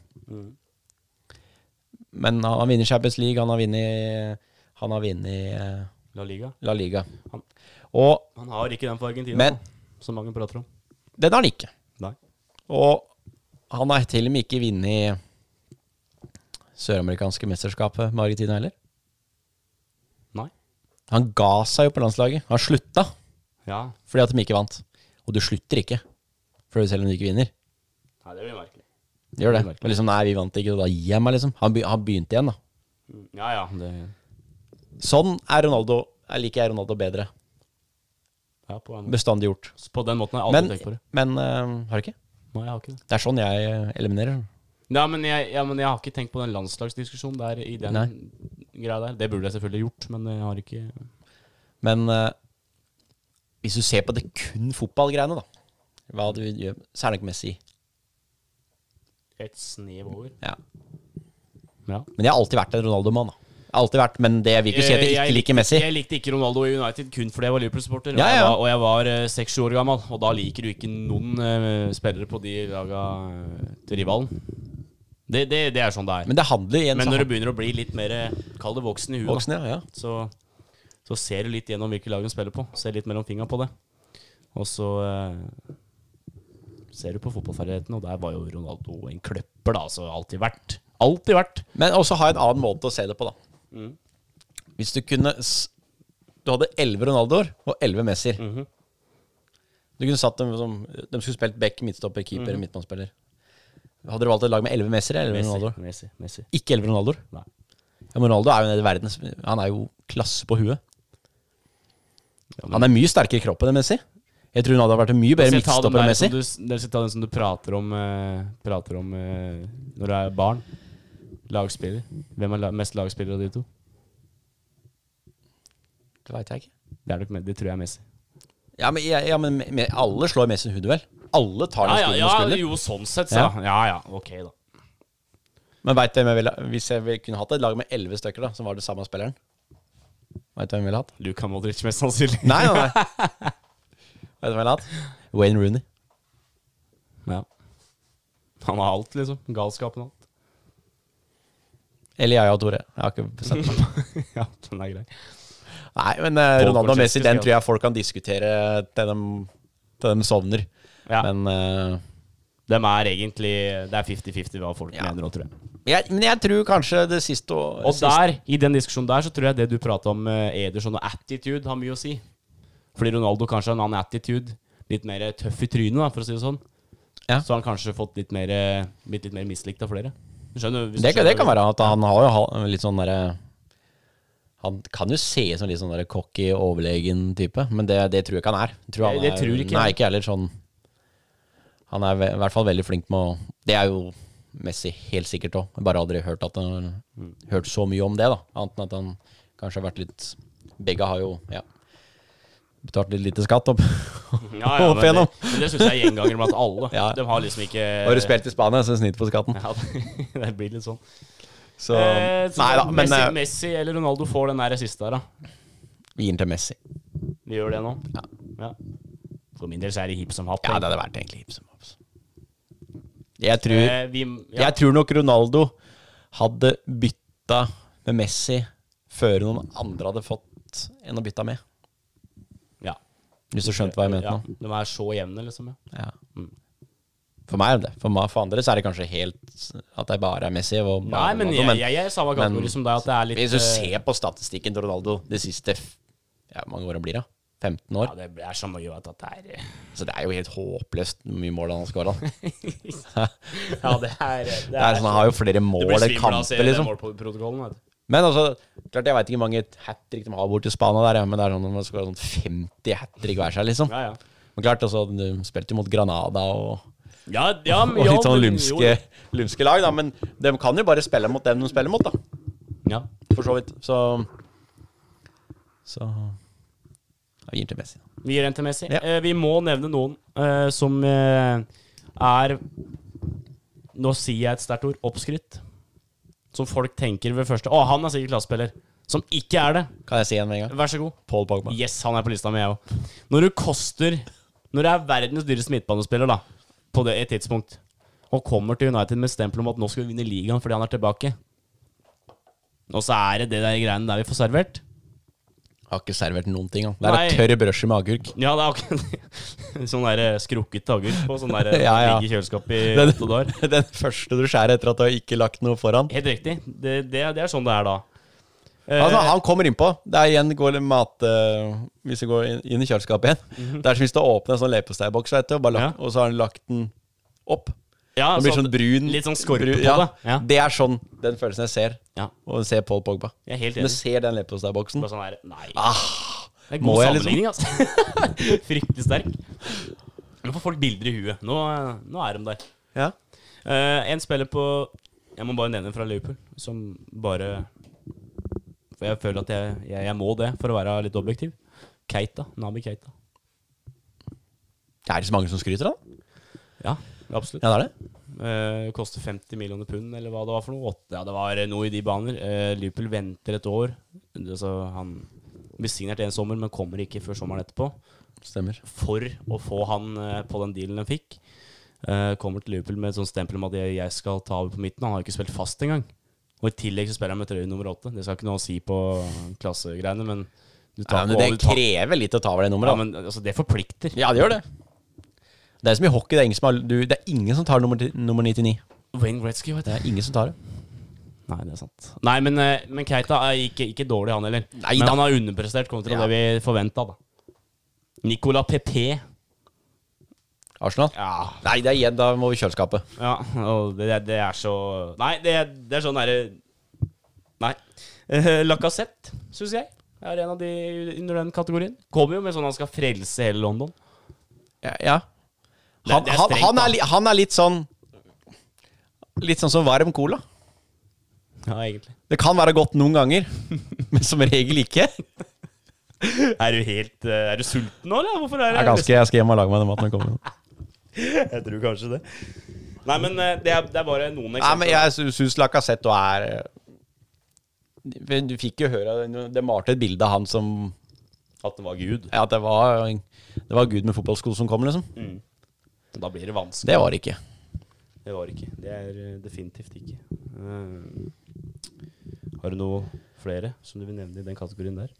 Speaker 4: Men han har vunnet Champions League, han har vunnet Han har vunnet eh,
Speaker 3: La Liga.
Speaker 4: La Liga.
Speaker 3: Han-
Speaker 4: Og
Speaker 3: Han har ikke den for Argentina,
Speaker 4: Men-
Speaker 3: da, som mange prater om.
Speaker 4: den har han ikke.
Speaker 3: Nei.
Speaker 4: Og han har til og med ikke vunnet søramerikanske mesterskapet med Argentina heller.
Speaker 3: Nei.
Speaker 4: Han ga seg jo på landslaget. Han slutta
Speaker 3: Ja.
Speaker 4: fordi at de ikke vant. Og du slutter ikke for selv om du ikke vinner.
Speaker 3: Nei, det blir merkelig.
Speaker 4: Det Gjør det.
Speaker 3: Merkelig.
Speaker 4: Men liksom, nei, vi vant ikke, og da gir jeg meg, liksom. Han, be han begynte igjen, da.
Speaker 3: Mm, Ja, ja. Det,
Speaker 4: Sånn er Ronaldo Jeg liker jeg Ronaldo bedre.
Speaker 3: ja på, en,
Speaker 4: Bestandig gjort.
Speaker 3: på den måten har jeg aldri
Speaker 4: Men,
Speaker 3: tenkt på det.
Speaker 4: men øh, har du ikke?
Speaker 3: Nei, jeg har ikke det.
Speaker 4: Det er sånn jeg øh, eliminerer.
Speaker 3: Nei, men jeg, ja, men jeg har ikke tenkt på den landslagsdiskusjonen der i den
Speaker 4: Nei.
Speaker 3: greia der. Det burde jeg selvfølgelig gjort, men jeg har ikke
Speaker 4: Men øh, hvis du ser på det kun fotballgreiene, da Hva du gjør, så er det nok Messi.
Speaker 3: et snev over.
Speaker 4: Ja.
Speaker 3: Ja.
Speaker 4: Men jeg har alltid vært en Ronaldo-mann. da. Jeg har alltid vært, Men det vil ikke si at jeg
Speaker 3: Eh,
Speaker 4: ikke liker Messi.
Speaker 3: Jeg likte ikke Ronaldo i United kun fordi jeg var Liverpool-supporter. og
Speaker 4: Ja,
Speaker 3: jeg
Speaker 4: ja.
Speaker 3: var- Og jeg var eh, seks-sju år gammel, og da liker du ikke noen eh, spillere på de laga eh, til rivalen. Det, det, det er sånn det er. Men,
Speaker 4: Men det handler igjen
Speaker 3: når du begynner å bli litt mer eh, Kall det voksen i huet,
Speaker 4: voksne, ja, ja.
Speaker 3: da, så, så ser du litt gjennom hvilke lag de spiller på. Ser litt mellom fingra på det. Og så eh, ser du på fotballferdighetene, og der var jo Ronaldo en kløpper, da. Altså alltid vært. Alltid vært.
Speaker 4: Men også ha en annen måte å se det på, da. Hvis du kunne s- Du hadde elleve Ronaldoer og elleve Messier. Du kunne satt dem som De skulle spilt back, midtstopper, keeper, midtbanespiller. Hadde du valgt et lag med elleve Messier eller elleve
Speaker 3: Mhm. Messi,
Speaker 4: Ronaldoer?
Speaker 3: Messi, Messi.
Speaker 4: Ikke elleve Ronaldoer.
Speaker 3: Nei.
Speaker 4: Ja, men Ronaldo er jo nede i verdens Han er jo klasse på huet.
Speaker 3: Ja, men-
Speaker 4: Han er mye sterkere i kroppen enn Messi. Jeg tror Ronaldo har vært en mye bedre
Speaker 3: Skal jeg ta den
Speaker 4: midtstopper enn
Speaker 3: der
Speaker 4: Messi.
Speaker 3: som Du, dere skal ta den som du prater om, eh, prater om eh, når du er barn. Lagspiller. Hvem er la mest lagspiller av de to?
Speaker 4: Det vet jeg ikke.
Speaker 3: Det, er nok, Me- det tror jeg er Messi.
Speaker 4: Ja, men, ja, ja, men me- alle slår Messi i en hudduell. Alle tar den skuddet med skulder.
Speaker 3: jo, sånn sett,
Speaker 4: så.
Speaker 3: Ja ja, ok, da.
Speaker 4: Men veit du hvem jeg ville Hvis jeg ville- kunne hatt et lag med elleve stykker, da, som var det samme spilleren Veit du hvem jeg ville hatt?
Speaker 3: Luka Modric, mest sannsynlig.
Speaker 4: Nei, nei, nei. Vet du hvem jeg ville hatt? Wayne Rooney.
Speaker 3: Ja. Han har alt, liksom. Galskapen og alt.
Speaker 4: Eller jeg og Tore. Jeg har ikke bestemt meg.
Speaker 3: ja, den er grei.
Speaker 4: Nei, men eh,
Speaker 3: Paul
Speaker 4: Ronaldo og Messi,
Speaker 3: Korsetsky
Speaker 4: den
Speaker 3: skal
Speaker 4: tror jeg folk kan diskutere til de, til de sovner.
Speaker 3: Ja.
Speaker 4: Men, eh,
Speaker 3: De er egentlig Det er 50-50 hva folk
Speaker 4: Ja.
Speaker 3: mener nå, tror jeg.
Speaker 4: jeg, men jeg tror kanskje det siste å-
Speaker 3: Og
Speaker 4: siste-
Speaker 3: der, i den diskusjonen der, så tror jeg det du prata om eh, Ederson og attitude, har mye å si. Fordi Ronaldo kanskje har en annen attitude. Litt mer eh, tøff i trynet, da, for å si det sånn.
Speaker 4: Ja.
Speaker 3: Så har han kanskje fått litt mer, eh, blitt litt mer mislikt av flere. Du skjønner, hvis du
Speaker 4: Det, kan-
Speaker 3: skjønner-
Speaker 4: det kan være at han har jo ha- litt sånn derre Han kan jo se ut som litt sånn derre cocky, overlegen type, men det, det tror jeg ikke han er. Jeg Tror han
Speaker 3: Det- det
Speaker 4: er
Speaker 3: tror ikke jeg.
Speaker 4: Nei, ikke jeg heller sånn Han er ve- i hvert fall veldig flink med å Det er jo Messi helt sikkert òg. Bare aldri hørt at han hørt så mye om det, da. Annet enn at han kanskje har vært litt Begge har jo ja, betalt litt lite skatt opp.
Speaker 3: ja, ja,
Speaker 4: Opp
Speaker 3: men det,
Speaker 4: igjennom.
Speaker 3: men det syns jeg er gjenganger blant alle.
Speaker 4: Ja.
Speaker 3: De har liksom ikke
Speaker 4: Har du spilt i Spania, så snitt på skatten.
Speaker 3: Ja, det, det blir litt sånn.
Speaker 4: Så,
Speaker 3: Eh, så
Speaker 4: nei da, men
Speaker 3: Messi,
Speaker 4: eh,
Speaker 3: Messi eller Ronaldo får den der siste her, da.
Speaker 4: vi gir den til Messi.
Speaker 3: Vi gjør det nå.
Speaker 4: Ja.
Speaker 3: Ja. For min del så er det hipp som happ.
Speaker 4: Ja, det hadde vært egentlig hipp som happ. Jeg tror,
Speaker 3: Eh, vi, ja.
Speaker 4: jeg tror nok Ronaldo hadde bytta med Messi før noen andre hadde fått en å bytte med.
Speaker 3: ja.
Speaker 4: Hvis du skjønte hva jeg mente
Speaker 3: Ja,
Speaker 4: nå.
Speaker 3: de er så jevne, liksom. Ja.
Speaker 4: Ja. For meg er det det. For, meg, for andre så er det kanskje helt at det bare er Messi. Og
Speaker 3: Nei,
Speaker 4: bare
Speaker 3: men
Speaker 4: Ronaldo,
Speaker 3: jeg, jeg, jeg er i samme kategori som deg, at det er litt
Speaker 4: Hvis du
Speaker 3: eh,
Speaker 4: ser på statistikken til Ronaldo de siste f- ja, hvor mange åra blir det? 15
Speaker 3: ja,
Speaker 4: år?
Speaker 3: Det er så mye at det er eh,
Speaker 4: Så det er jo helt håpløst hvor mye mål han har skåra. Det
Speaker 3: Ja, det er Det,
Speaker 4: er sånn, han har jo flere
Speaker 3: Du
Speaker 4: mål
Speaker 3: blir
Speaker 4: enn
Speaker 3: svimmel av å se
Speaker 4: kamper,
Speaker 3: den
Speaker 4: liksom.
Speaker 3: målprotokollen. vet du.
Speaker 4: Men altså, klart jeg veit ikke hvor mange hat trick de har borti Spania der, ja, men det er sånn de skårer sånn 50 hat trick hver seg, liksom.
Speaker 3: Ja, ja.
Speaker 4: Men klart, altså, de spilte jo mot Granada og
Speaker 3: Ja, ja, men-
Speaker 4: Og
Speaker 3: ja,
Speaker 4: litt sånn
Speaker 3: men-
Speaker 4: lumske, lumske lag, da. Men de kan jo bare spille mot dem de spiller mot, da.
Speaker 3: jo, Ja.
Speaker 4: For så vidt. Så Så Jeg gir til Messi. da.
Speaker 3: Vi gir en til Messi.
Speaker 4: Ja.
Speaker 3: Eh, vi må nevne noen eh, som eh, er Nå sier jeg et sterkt ord oppskrytt. Som folk tenker ved første Å, han er sikkert klassespiller. Som ikke er det.
Speaker 4: Kan jeg si en med en gang?
Speaker 3: Vær så god.
Speaker 4: Paul Pogba.
Speaker 3: Yes, han er på lista mi, jeg òg. Når du koster Når du er verdens dyreste midtbanespiller, da, på det et tidspunkt, og kommer til United med stempel om at nå skal vi vinne ligaen fordi han er tilbake, og så er det det der greiene der vi får servert
Speaker 4: Har ikke servert noen ting. Han. Det er
Speaker 3: Nei.
Speaker 4: et tørr brødskive med agurk.
Speaker 3: Ja, det er akkurat Sånn der skrukket agurk på, sånn der
Speaker 4: Ja, ja.
Speaker 3: ligger i kjøleskapet i
Speaker 4: Den,
Speaker 3: åtte dager.
Speaker 4: den første du skjærer etter at du har ikke lagt noe foran.
Speaker 3: Helt riktig. Det, det, det er sånn det er da. Eh,
Speaker 4: Altså, han kommer innpå. Det er igjen går det mat eh, Hvis vi går inn, inn i kjøleskapet igjen. Det er som hvis du åpner en sånn leverposteiboks, vet du, og, bare lagt,
Speaker 3: Mhm. Ja.
Speaker 4: og så har han lagt den opp.
Speaker 3: ja,
Speaker 4: Den blir
Speaker 3: så
Speaker 4: sånn
Speaker 3: at-
Speaker 4: brun.
Speaker 3: Litt sånn skorpe
Speaker 4: brun-
Speaker 3: på
Speaker 4: ja,
Speaker 3: det. Ja.
Speaker 4: Det er sånn den følelsen jeg ser.
Speaker 3: Ja.
Speaker 4: Og jeg ser Paul Pogba.
Speaker 3: Jeg er helt
Speaker 4: Når jeg
Speaker 3: enig.
Speaker 4: ser den ah! leverposteiboksen
Speaker 3: Bare sånn der Nei. det er
Speaker 4: må
Speaker 3: god
Speaker 4: jeg liksom?
Speaker 3: sammenligning, altså. Fryktelig sterk. Nå får folk bilder i huet. Nå, nå er de der.
Speaker 4: ja.
Speaker 3: Eh, en spiller på Jeg må bare nevne fra Liverpool, som bare For jeg føler at jeg, jeg, jeg må det, for å være litt objektiv. Keita. Nabi Keita.
Speaker 4: Det er det så mange som skryter av den?
Speaker 3: Ja, absolutt.
Speaker 4: Ja, det er det.
Speaker 3: Eh, koster 50 millioner pund, eller hva det var for noe. Åtte- Ja, det var eh, noe i de baner. Eh, Liverpool venter et år. Altså, han blir signert en sommer, men kommer ikke før sommeren etterpå.
Speaker 4: Stemmer.
Speaker 3: For å få han eh, på den dealen han fikk. Eh, kommer til Liverpool med et sånt stempel om at jeg, jeg skal ta over på midten. Han har jo ikke spilt fast engang. Og i tillegg så spiller han med trøye nummer åtte. Det skal ikke noe å si på klassegreiene, men du
Speaker 4: Ja,
Speaker 3: tar
Speaker 4: men
Speaker 3: på
Speaker 4: det
Speaker 3: over- du tar-
Speaker 4: krever litt å ta over det nummeret.
Speaker 3: ja,
Speaker 4: da.
Speaker 3: men altså, det forplikter.
Speaker 4: Ja, det gjør det. Det er som i hockey. Det er ingen som, har, du, det er ingen som tar nummer, ti- nummer 99.
Speaker 3: Wayne Gretzky, vet du.
Speaker 4: Det er ingen som tar det.
Speaker 3: Nei, det er sant. Nei, men, eh, men Keita er ikke, ikke dårlig, han heller.
Speaker 4: Nei
Speaker 3: men
Speaker 4: da.
Speaker 3: han har underprestert kontra
Speaker 4: Ja.
Speaker 3: det vi forventa, da. Nicola PP.
Speaker 4: Arsenal?
Speaker 3: Ja.
Speaker 4: Nei, det er igjen. Da må vi i kjøleskapet.
Speaker 3: ja og det, det er så Nei, det, det er sånn derre Nei. Uh, Lacassette, syns jeg, er en av de under den kategorien. Kommer jo med sånn han skal frelse hele London.
Speaker 4: Ja, ja. Han,
Speaker 3: Det- det er
Speaker 4: han,
Speaker 3: strengt,
Speaker 4: han,
Speaker 3: da.
Speaker 4: er, li- han er litt sånn Litt sånn som varm cola.
Speaker 3: Ja, egentlig.
Speaker 4: Det kan være godt noen ganger, men som regel ikke. Jeg
Speaker 3: Er du helt eh, Er du sulten nå, eller? Hvorfor er det
Speaker 4: er ganske, jeg skal hjem og lage meg den maten når jeg kommer. hjem.
Speaker 3: Jeg tror kanskje det. Nei, men eh, det, er, det er bare noen
Speaker 4: Nei,
Speaker 3: eksempler.
Speaker 4: men jeg sy- syns Lacassette er eh, Du fikk jo høre De malte et bilde av han som
Speaker 3: At det var Gud.
Speaker 4: Ja, at det var, det var Gud med fotballsko som kom, liksom.
Speaker 3: Da blir det vanskelig.
Speaker 4: Det var det ikke.
Speaker 3: Det var det ikke. Det er eh, definitivt ikke. Eh, har du noe flere som du vil nevne i den kategorien der?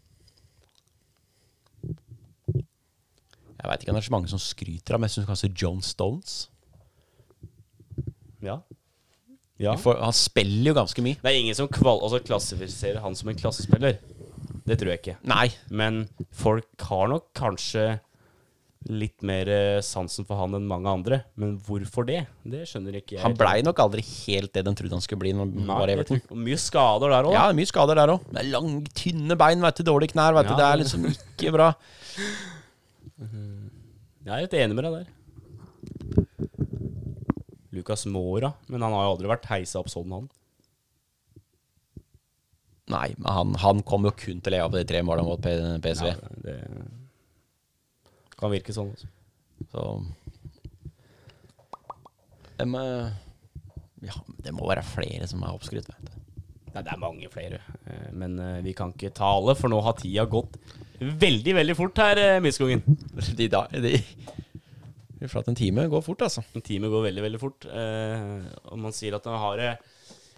Speaker 4: Jeg veit ikke om det er så mange som skryter av, men jeg syns kanskje John Stones.
Speaker 3: Ja. ja.
Speaker 4: For han spiller jo ganske mye.
Speaker 3: Det er ingen som kval altså, klassifiserer han som en klassespiller. Det tror jeg ikke.
Speaker 4: Nei.
Speaker 3: Men folk har nok kanskje litt mer eh, sansen for han enn mange andre. Men hvorfor det? Det skjønner ikke jeg.
Speaker 4: Han blei nok aldri helt det de trodde han skulle bli. Når han
Speaker 3: Nei,
Speaker 4: var i
Speaker 3: jeg
Speaker 4: Everton.
Speaker 3: tror- og Mye skader der òg.
Speaker 4: Ja, det er mye skader der òg. Det er lang, tynne bein, vet du. Dårlige knær, vet du.
Speaker 3: Ja.
Speaker 4: Det er liksom ikke bra.
Speaker 3: Jeg er litt enig med deg der. Lucas Mora. Men han har jo aldri vært heisa opp sånn, han.
Speaker 4: Nei, men han, han kom jo kun til å leve av de tre målene mot P- PSV.
Speaker 3: Ja, det kan virke sånn. Også.
Speaker 4: Så Dem, eh, ja, det må være flere som er oppskrytt, vet du.
Speaker 3: Nei, det er mange flere. Eh, Men eh, vi kan ikke ta alle, for nå har tida gått veldig, veldig fort her, eh, Midtskogen.
Speaker 4: De da, de Fy flate, en time går fort, altså.
Speaker 3: En time går veldig, veldig fort. eh, Og man sier at den har eh,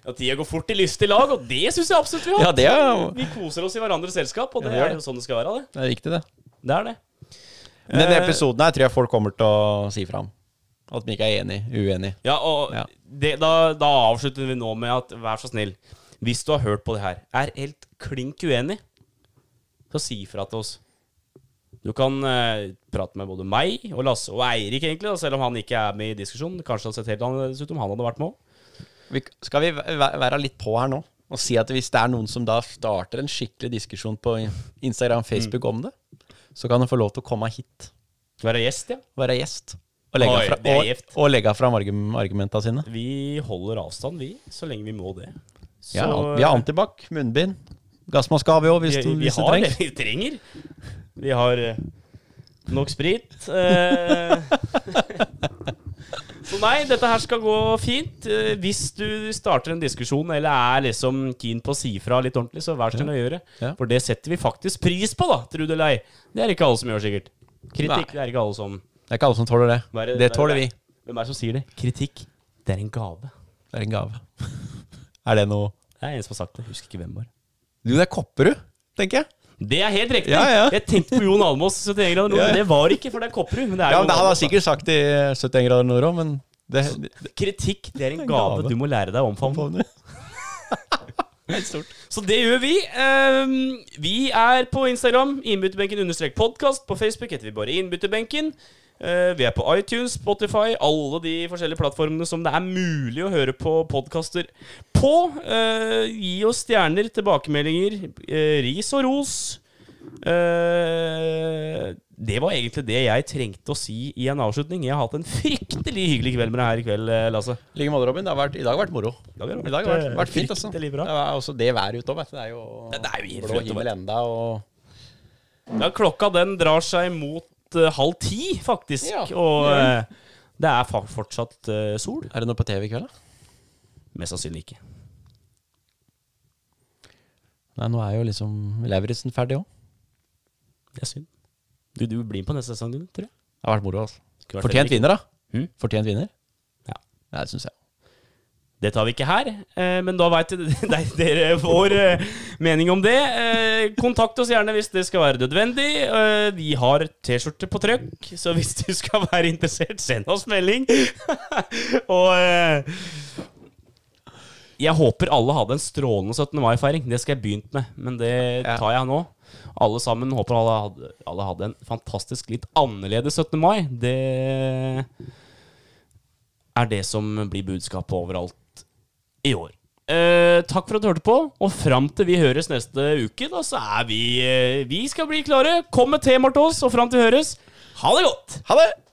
Speaker 3: at tida går fort i lystig lag, og det syns jeg absolutt vi har.
Speaker 4: Ja, det er jo
Speaker 3: Vi koser oss i hverandres selskap, og det
Speaker 4: vi gjør
Speaker 3: er jo
Speaker 4: det.
Speaker 3: sånn det skal være. det.
Speaker 4: det er viktig, det.
Speaker 3: Det er det.
Speaker 4: Men
Speaker 3: Eh,
Speaker 4: denne episoden her tror jeg folk kommer til å si fra om. At de ikke er enig, uenig.
Speaker 3: Ja, og
Speaker 4: Ja.
Speaker 3: Det, da, da avslutter vi nå med at vær så snill, hvis du har hørt på det her, er helt klink uenig, så si ifra til oss. Du kan eh, prate med både meg og Lasse og Eirik, egentlig, da, selv om han ikke er med i diskusjonen. Kanskje det hadde sett helt annerledes ut om han hadde vært med òg.
Speaker 4: Vi, skal vi væ- væ- være litt på her nå og si at hvis det er noen som da starter en skikkelig diskusjon på
Speaker 3: Mm.
Speaker 4: Instagram, Facebook om det, så kan de få lov til å komme hit
Speaker 3: Være gjest, ja.
Speaker 4: og være gjest. Og legge
Speaker 3: Oi,
Speaker 4: fra,
Speaker 3: det er
Speaker 4: og,
Speaker 3: gift.
Speaker 4: og legge fram argum- argumenta sine.
Speaker 3: Vi holder avstand, vi, så lenge vi må det.
Speaker 4: Ja, vi har antibac, munnbind. Gassmaske har vi òg, hvis,
Speaker 3: vi,
Speaker 4: den-
Speaker 3: vi
Speaker 4: hvis det
Speaker 3: har det
Speaker 4: trengs.
Speaker 3: vi trenger. Vi har eh, nok sprit. eh. Så nei, dette her skal gå fint. Eh, Hvis du starter en diskusjon eller er liksom keen på å si fra litt ordentlig, så vær så snill å gjøre det.
Speaker 4: Ja.
Speaker 3: For det setter vi faktisk pris på, da, tro det eller ei. Det er ikke alle som gjør, sikkert.
Speaker 4: Nei.
Speaker 3: Kritikk det er ikke alle som
Speaker 4: Det er ikke alle som tåler det.
Speaker 3: Hva er
Speaker 4: det
Speaker 3: hva er
Speaker 4: tåler vi.
Speaker 3: det- Hvem er det som sier det? Kritikk, det er en gave.
Speaker 4: Det er en gave. er det noe
Speaker 3: Det er en som har sagt det. Husker ikke hvem bare.
Speaker 4: Du, det er Kopperud, tenker jeg.
Speaker 3: Det er helt riktig!
Speaker 4: Ja, ja.
Speaker 3: Jeg tenkte på Jon Almaas, 71 grader nord,
Speaker 4: Ja, ja.
Speaker 3: men det var ikke, for det er Kopperud. Men det er
Speaker 4: Ja,
Speaker 3: Jon
Speaker 4: men det, Han har
Speaker 3: Almaas, da.
Speaker 4: sikkert sagt det i 71 grader nord òg, men det, det,
Speaker 3: Kritikk det er en
Speaker 4: En
Speaker 3: gave
Speaker 4: gave.
Speaker 3: du må lære deg å omfavne.
Speaker 4: det
Speaker 3: Så det gjør vi. Ehm, vi er på Instagram, innbytterbenken understrek podkast. På Facebook heter vi bare Innbytterbenken. Eh, vi er på iTunes, Spotify, alle de forskjellige plattformene som det er mulig å høre på podkaster på. Eh, gi oss stjerner, tilbakemeldinger, eh, ris og ros. Eh, det var egentlig det jeg trengte å si i en avslutning. Jeg har hatt en fryktelig hyggelig kveld med deg her i kveld, eh, Lasse.
Speaker 4: I like måte, Robin. Det har vært, I dag har vært moro.
Speaker 3: dag har det
Speaker 4: I dag har
Speaker 3: vært,
Speaker 4: vært, vært fint,
Speaker 3: eh,
Speaker 4: altså.
Speaker 3: fryktelig bra.
Speaker 4: Det er også det været ute òg, vet du. Det er jo,
Speaker 3: Det- det er jo helt
Speaker 4: blå
Speaker 3: rått,
Speaker 4: himmel
Speaker 3: vet
Speaker 4: enda, og
Speaker 3: Ja, klokka den drar seg mot eh, halv ti, faktisk.
Speaker 4: Ja.
Speaker 3: Og eh, det er fa fortsatt eh, sol.
Speaker 4: Er det noe på TV i kveld, da?
Speaker 3: Mest sannsynlig ikke.
Speaker 4: Nei, nå er jo liksom Lauritzen ferdig òg.
Speaker 3: Det er synd. Du, du blir med på neste sesong, du, tror jeg.
Speaker 4: Det har vært moro, altså.
Speaker 3: Skulle vært
Speaker 4: Fortjent
Speaker 3: veldig-
Speaker 4: vinner, da.
Speaker 3: Mm.
Speaker 4: Fortjent vinner?
Speaker 3: Ja.
Speaker 4: Nei, det syns jeg.
Speaker 3: Det tar vi ikke her, eh, men da veit dere vår eh, mening om det. Eh, Kontakt oss gjerne hvis det skal være nødvendig. Eh, Vi har T-skjorte på trykk, så hvis du skal være interessert, send oss melding. Og eh, jeg håper alle hadde en strålende 17. mai-feiring. Det skal jeg begynt med, men det tar jeg nå. Alle sammen håper alle hadde, alle hadde en fantastisk litt annerledes 17. mai. Det er det som blir budskapet overalt i år. Eh, takk for at du hørte på, og fram til vi høres neste uke, da, så er vi eh, Vi skal bli klare. Kom med temaer til oss, og fram til vi høres, ha det godt!
Speaker 4: Ha det!